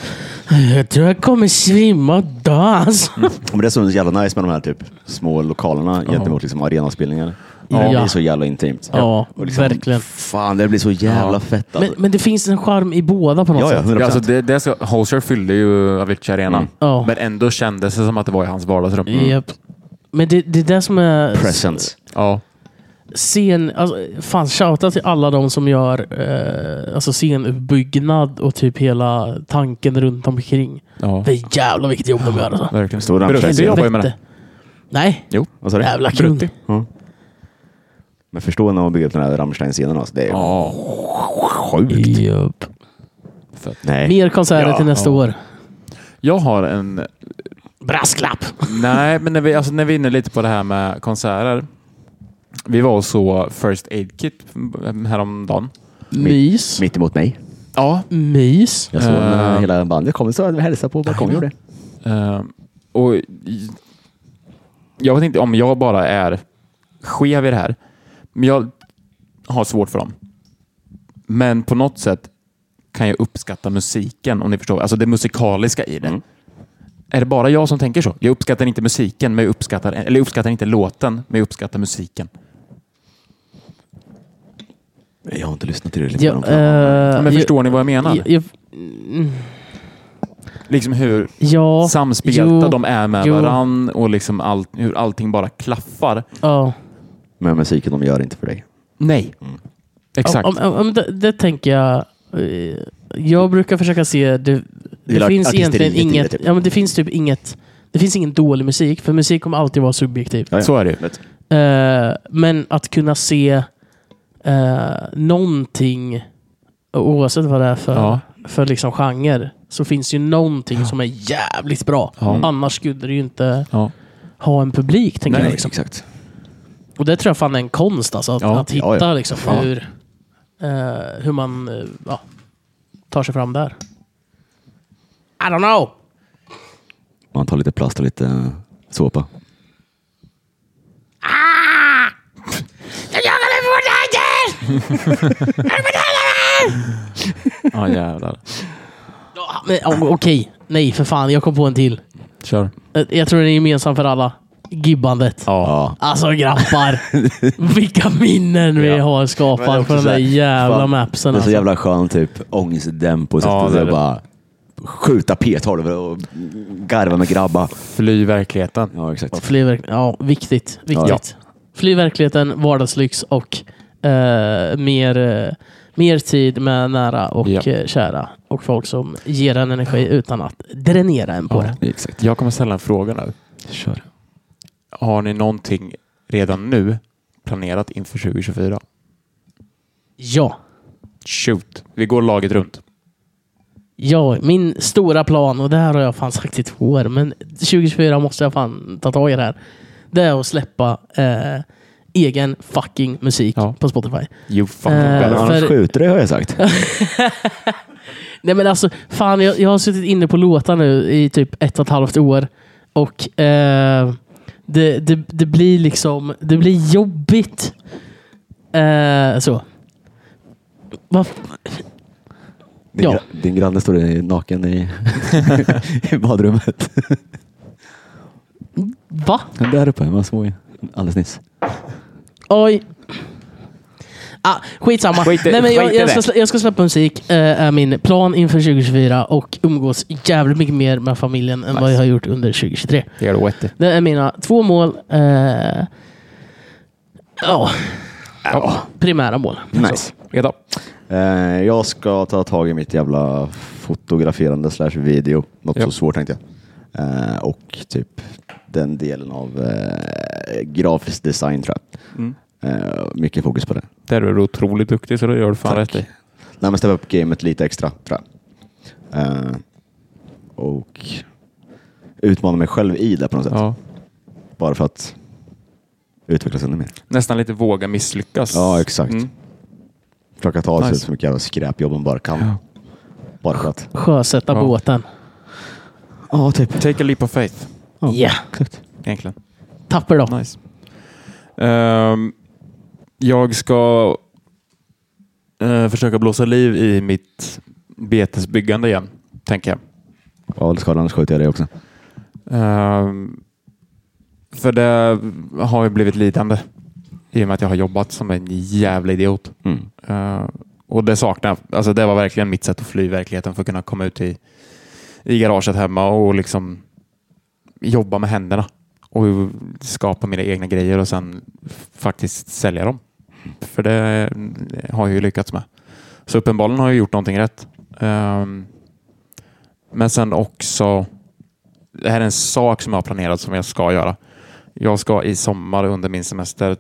B: Jag tror jag kommer svimma och dö alltså.
C: Men det är så jävla nice med de här typ, små lokalerna gentemot liksom, arenaspelningar.
B: Ja.
C: Det blir så jävla intimt.
B: Ja,
C: Och liksom,
B: verkligen.
C: Fan, det blir så jävla
A: Ja.
C: fett.
B: Men,
C: Alltså.
B: men det finns en charm i båda på något
C: ja, ja,
B: sätt.
C: 100%.
A: Ja, alltså det, det ska, Holzer fyllde ju Avicii Arena,
B: Mm. Ja.
A: men ändå kändes det som att det var i hans vardagsrum. Mm.
B: Japp. Men det, det är det som är...
C: Presence.
A: Ja.
B: scen, alltså, fan shoutout till alla de som gör eh, alltså scenuppbyggnad och typ hela tanken runt omkring.
A: ja.
B: Det är jävla vilket jobb de gör alltså.
A: Verkligen.
C: Stora
A: Brutti
C: ansträngningar.
A: jobbar ju med det.
B: Helvete. Nej,
A: Jo.
C: Vad sa du?
B: jävla kung.
A: Brutti.
C: Men förstå när man bygger upp den här Rammstein-scenen. Alltså, det är
A: Ja.
C: sjukt.
B: Japp.
C: Nej.
B: Mer konserter
C: Ja,
B: till nästa år.
A: Jag har en...
B: Brasklapp!
A: Nej, men när vi, alltså, när vi är inne lite på det här med konserter. Vi var och så First Aid Kit mm, häromdagen.
B: Mys.
C: Mitt emot mig.
A: Ja,
B: Mys.
C: Jag såg
A: Eh.
C: när hela bandet kom så hälsade på balkongen. gjorde det.
A: Eh, och i- jag vet inte om jag bara är skev i det här, men jag har svårt för dem. Men på något sätt kan jag uppskatta musiken, om ni förstår. Alltså det musikaliska i det.
C: Mm.
A: Är det bara jag som tänker så? Jag uppskattar inte musiken, men jag uppskattar, eller jag uppskattar inte låten, men jag uppskattar musiken.
C: Jag har inte lyssnat till det.
B: Ja,
C: Liksom.
B: eh,
A: Men
B: jag-
A: förstår ni vad jag menar?
B: jag- jag- mm,
A: Liksom hur
B: Ja.
A: samspelta
B: jo,
A: de är med
B: jo.
A: varann och liksom allt, hur allting bara klaffar.
B: Ja.
C: Men musiken de gör inte för dig.
A: Nej. Exakt.
B: Mm. Om, om, om, det, det tänker jag. eh, Jag brukar försöka se, det, det
C: Gillar
B: finns
C: artisteriet
B: egentligen
C: i det,
B: inget,
C: typ.
B: ja, men det finns typ inget, det finns ingen dålig musik, för musik kommer alltid vara subjektiv.
C: Ja, ja.
A: Så är det ju.
C: Vet.
B: Eh, men att kunna se eh, någonting, oavsett vad det är för,
A: Ja.
B: för liksom genre, så finns det ju någonting som är jävligt bra.
A: Ja.
B: Annars skulle det ju inte
A: Ja.
B: ha en publik, tänker
C: Nej,
B: jag. Liksom.
C: exakt.
B: Och det tror jag fan är en konst alltså, att,
A: Ja,
B: att hitta
C: ja, ja.
B: Liksom,
A: Ja.
B: hur, eh, hur man eh, ja, tar sig fram där. I don't know!
C: Man tar lite plast och lite såpa.
A: Ja, jävlar.
B: Ja, men, o- Okej, nej för fan, jag kom på en till.
A: Kör.
B: Eh, Jag tror den är gemensam för alla. Gibbandet.
C: Ja.
B: Alltså grabbar, vilka minnen vi
A: Ja.
B: har
C: Men det är
B: skapat
C: också
B: på de
C: så
B: där
C: här,
B: jävla
C: fan,
B: mapsen.
C: Det är så
B: Alltså.
C: jävla skön typ ångestdämp och så
A: Ja,
C: ja,
A: det är
C: det
A: det.
C: bara skjuta P12 och garva med grabbar.
A: Fly verkligheten.
C: Ja, exakt.
B: Fly verk- ja, viktigt. viktigt. Fly verkligheten, vardagslyx och eh, mer, eh, mer tid med nära och
A: Ja.
B: eh, kära. Och folk som ger en energi utan att dränera en på det.
C: exakt.
A: Jag kommer ställa en fråga nu.
C: Kör.
A: Har ni någonting redan nu planerat inför 2024?
B: Ja.
A: Shoot. Vi går laget runt.
B: Ja, min stora plan, och det här har jag fan sagt i två år, men 2024 måste jag fan ta tag i det här. Det är att släppa eh, egen fucking musik
A: Ja.
B: på Spotify.
A: You fucking
B: Eh,
A: better.
B: för-
C: Annars skjuter dig har jag sagt.
B: Nej men alltså, fan jag, jag har suttit inne på låtar nu i typ ett och ett halvt år. Och eh, det, det, det blir liksom, det blir jobbigt. Eh, så. Vad
C: Din,
B: Ja.
C: gra- din granne står i- naken i, i badrummet.
B: va?
C: Där uppe, man små i. Alldeles nyss.
B: Oj. Ah, skitsamma.
A: Skit i-
B: Nej, men jag,
A: skit i
B: jag,
A: det.
B: ska, slä- jag ska släppa musik, eh, är min plan inför 2024 och umgås jävligt mycket mer med familjen än vad jag har gjort under 2023.
A: Det gör du rätt i.
B: Det är mina två mål. Eh, ja,
C: Ja.
B: primära mål.
C: Nice.
A: Reda.
C: Eh, jag ska ta tag i mitt jävla fotograferande slash video. Något
A: Ja.
C: så svårt tänkte jag. Eh, och typ den delen av eh, grafisk design tror jag.
A: Mm.
C: Eh, mycket fokus på det.
A: Där är du otroligt duktig så det gör du fan rätt i.
C: Nej, men steppa upp gamet lite extra tror jag. Eh, och utmana mig själv i det på något sätt.
A: Ja.
C: Bara för att utvecklas ännu mer.
A: Nästan lite våga misslyckas. Mm.
C: Ja, exakt. Försöka ta sig
A: Nice.
C: ut så mycket jävla skräpjobb man bara kan.
A: Ja.
C: Bara för att.
B: Sjösätta
A: Ja.
B: båten.
C: Ja, typ.
A: Take a leap of faith.
B: Ja,
C: Ja.
B: yeah.
C: Exakt.
A: Egentligen.
B: tapper då.
A: Nice. Ehm, jag ska eh, försöka blåsa liv i mitt betesbyggande igen, tänker jag.
C: Ja, det ska annars skjuter jag dig också.
A: Ehm, för det har ju blivit lidande i och med att jag har jobbat som en jävla idiot. Eh, och det saknar jag. Alltså Det var verkligen mitt sätt att fly verkligheten för att kunna komma ut i, i garaget hemma och liksom jobba med händerna och skapa mina egna grejer och sen faktiskt sälja dem. För det har jag ju lyckats med. Så uppenbarligen har jag gjort någonting rätt. Ehm, men sen också, det här är en sak som jag har planerat som jag ska göra. Jag ska i sommar under min semester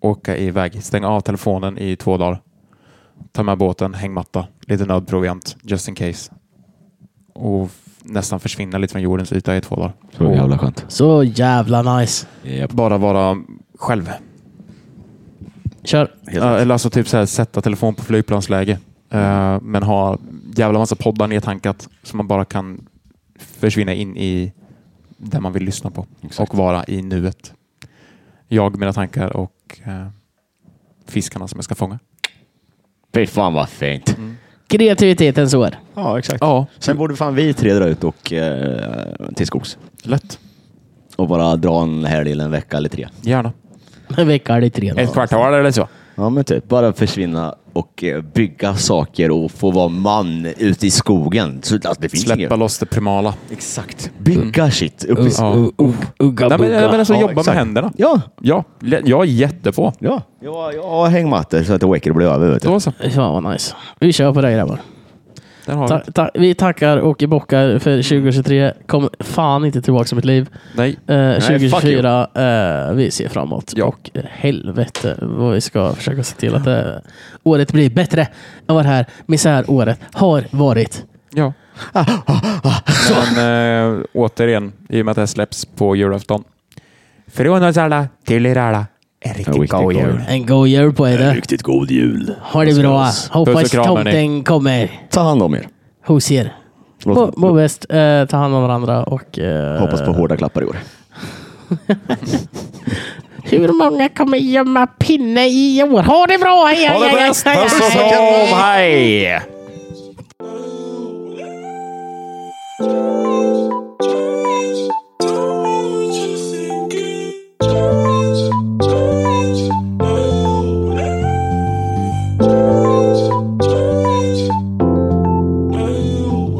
A: åka iväg, stänga av telefonen i två dagar, ta med båten, hängmatta, lite nödproviant, just in case. Och f- nästan försvinna lite från jordens yta i två dagar.
C: Så jävla skönt.
B: Så jävla nice.
A: Bara vara själv.
B: Kör.
C: Helt
A: Eh, eller alltså typ så här, sätta telefon på flygplansläge. Eh, men ha jävla massa poddar nedtankat så man bara kan försvinna in i det man vill lyssna på och vara i nuet. Jag, mina tankar och eh, fiskarna som jag ska fånga.
C: Fy fan vad fint.
B: Kreativitetens år.
C: Ja, exakt.
A: Mm. Ja,
C: Sen borde fan vi tre dra ut och eh, till skogs.
A: lätt.
C: Och bara dra en helg eller en vecka eller tre.
A: Gärna.
B: En vecka är det tre.
A: Ett kvartal eller så.
C: Ja, men typ. Bara försvinna och eh, bygga saker och få vara man ute i skogen. Så, alltså, det finns
A: Släppa
C: inget.
A: loss det primala.
C: Exakt. Bygga shit. Upp i
A: Ja.
B: Ugga
A: Nej, men,
B: bugga.
A: men alltså,
C: Ja,
A: jobba med
C: exakt.
A: händerna.
C: Ja.
A: Ja, le- jag är jättepå.
C: Ja. Jag, jag har hängmattor så att jag väcker blir över. Vet du.
A: Då så.
B: Fan vad nice. Vi kör på det grabbar.
A: Där har vi
B: Ta,
A: det.
B: ta, vi tackar Åke Bockar för 2023. Kom fan inte tillbaka som ett liv.
A: Nej,
B: Eh,
C: fuck
B: 2024, eh, vi ser framåt.
A: Ja.
B: Och eh, helvete vad vi ska försöka se till att eh, året blir bättre än vad det här misäråret har varit.
A: Ja. Men äh, återigen, i och med att det här släpps på julafton. Från oss alla till er alla. En
C: En
A: riktigt
C: riktigt
A: god
C: god
A: jul.
C: jul.
B: En god jul på er.
C: Riktigt god jul.
B: Ha det bra. Hoppas
A: Puss och kram, hörni.
B: tomten kommer
C: Ta hand om er.
B: hos er.
C: Låt-
B: Må, må bäst. Eh, ta hand om varandra och... Eh,
C: Hoppas på hårda klappar i år.
B: Hur många kommer gömma pinne i år? Ha det bra! Hej,
A: Ha det
B: hej, hej,
A: bäst!
B: hej,
A: Puss och
B: hej.
A: kram! Hej!
D: Oh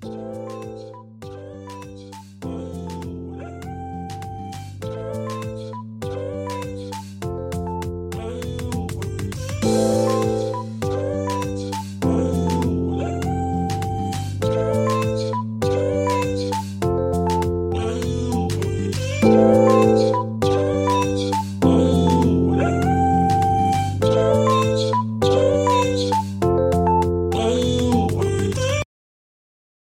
D: podcast.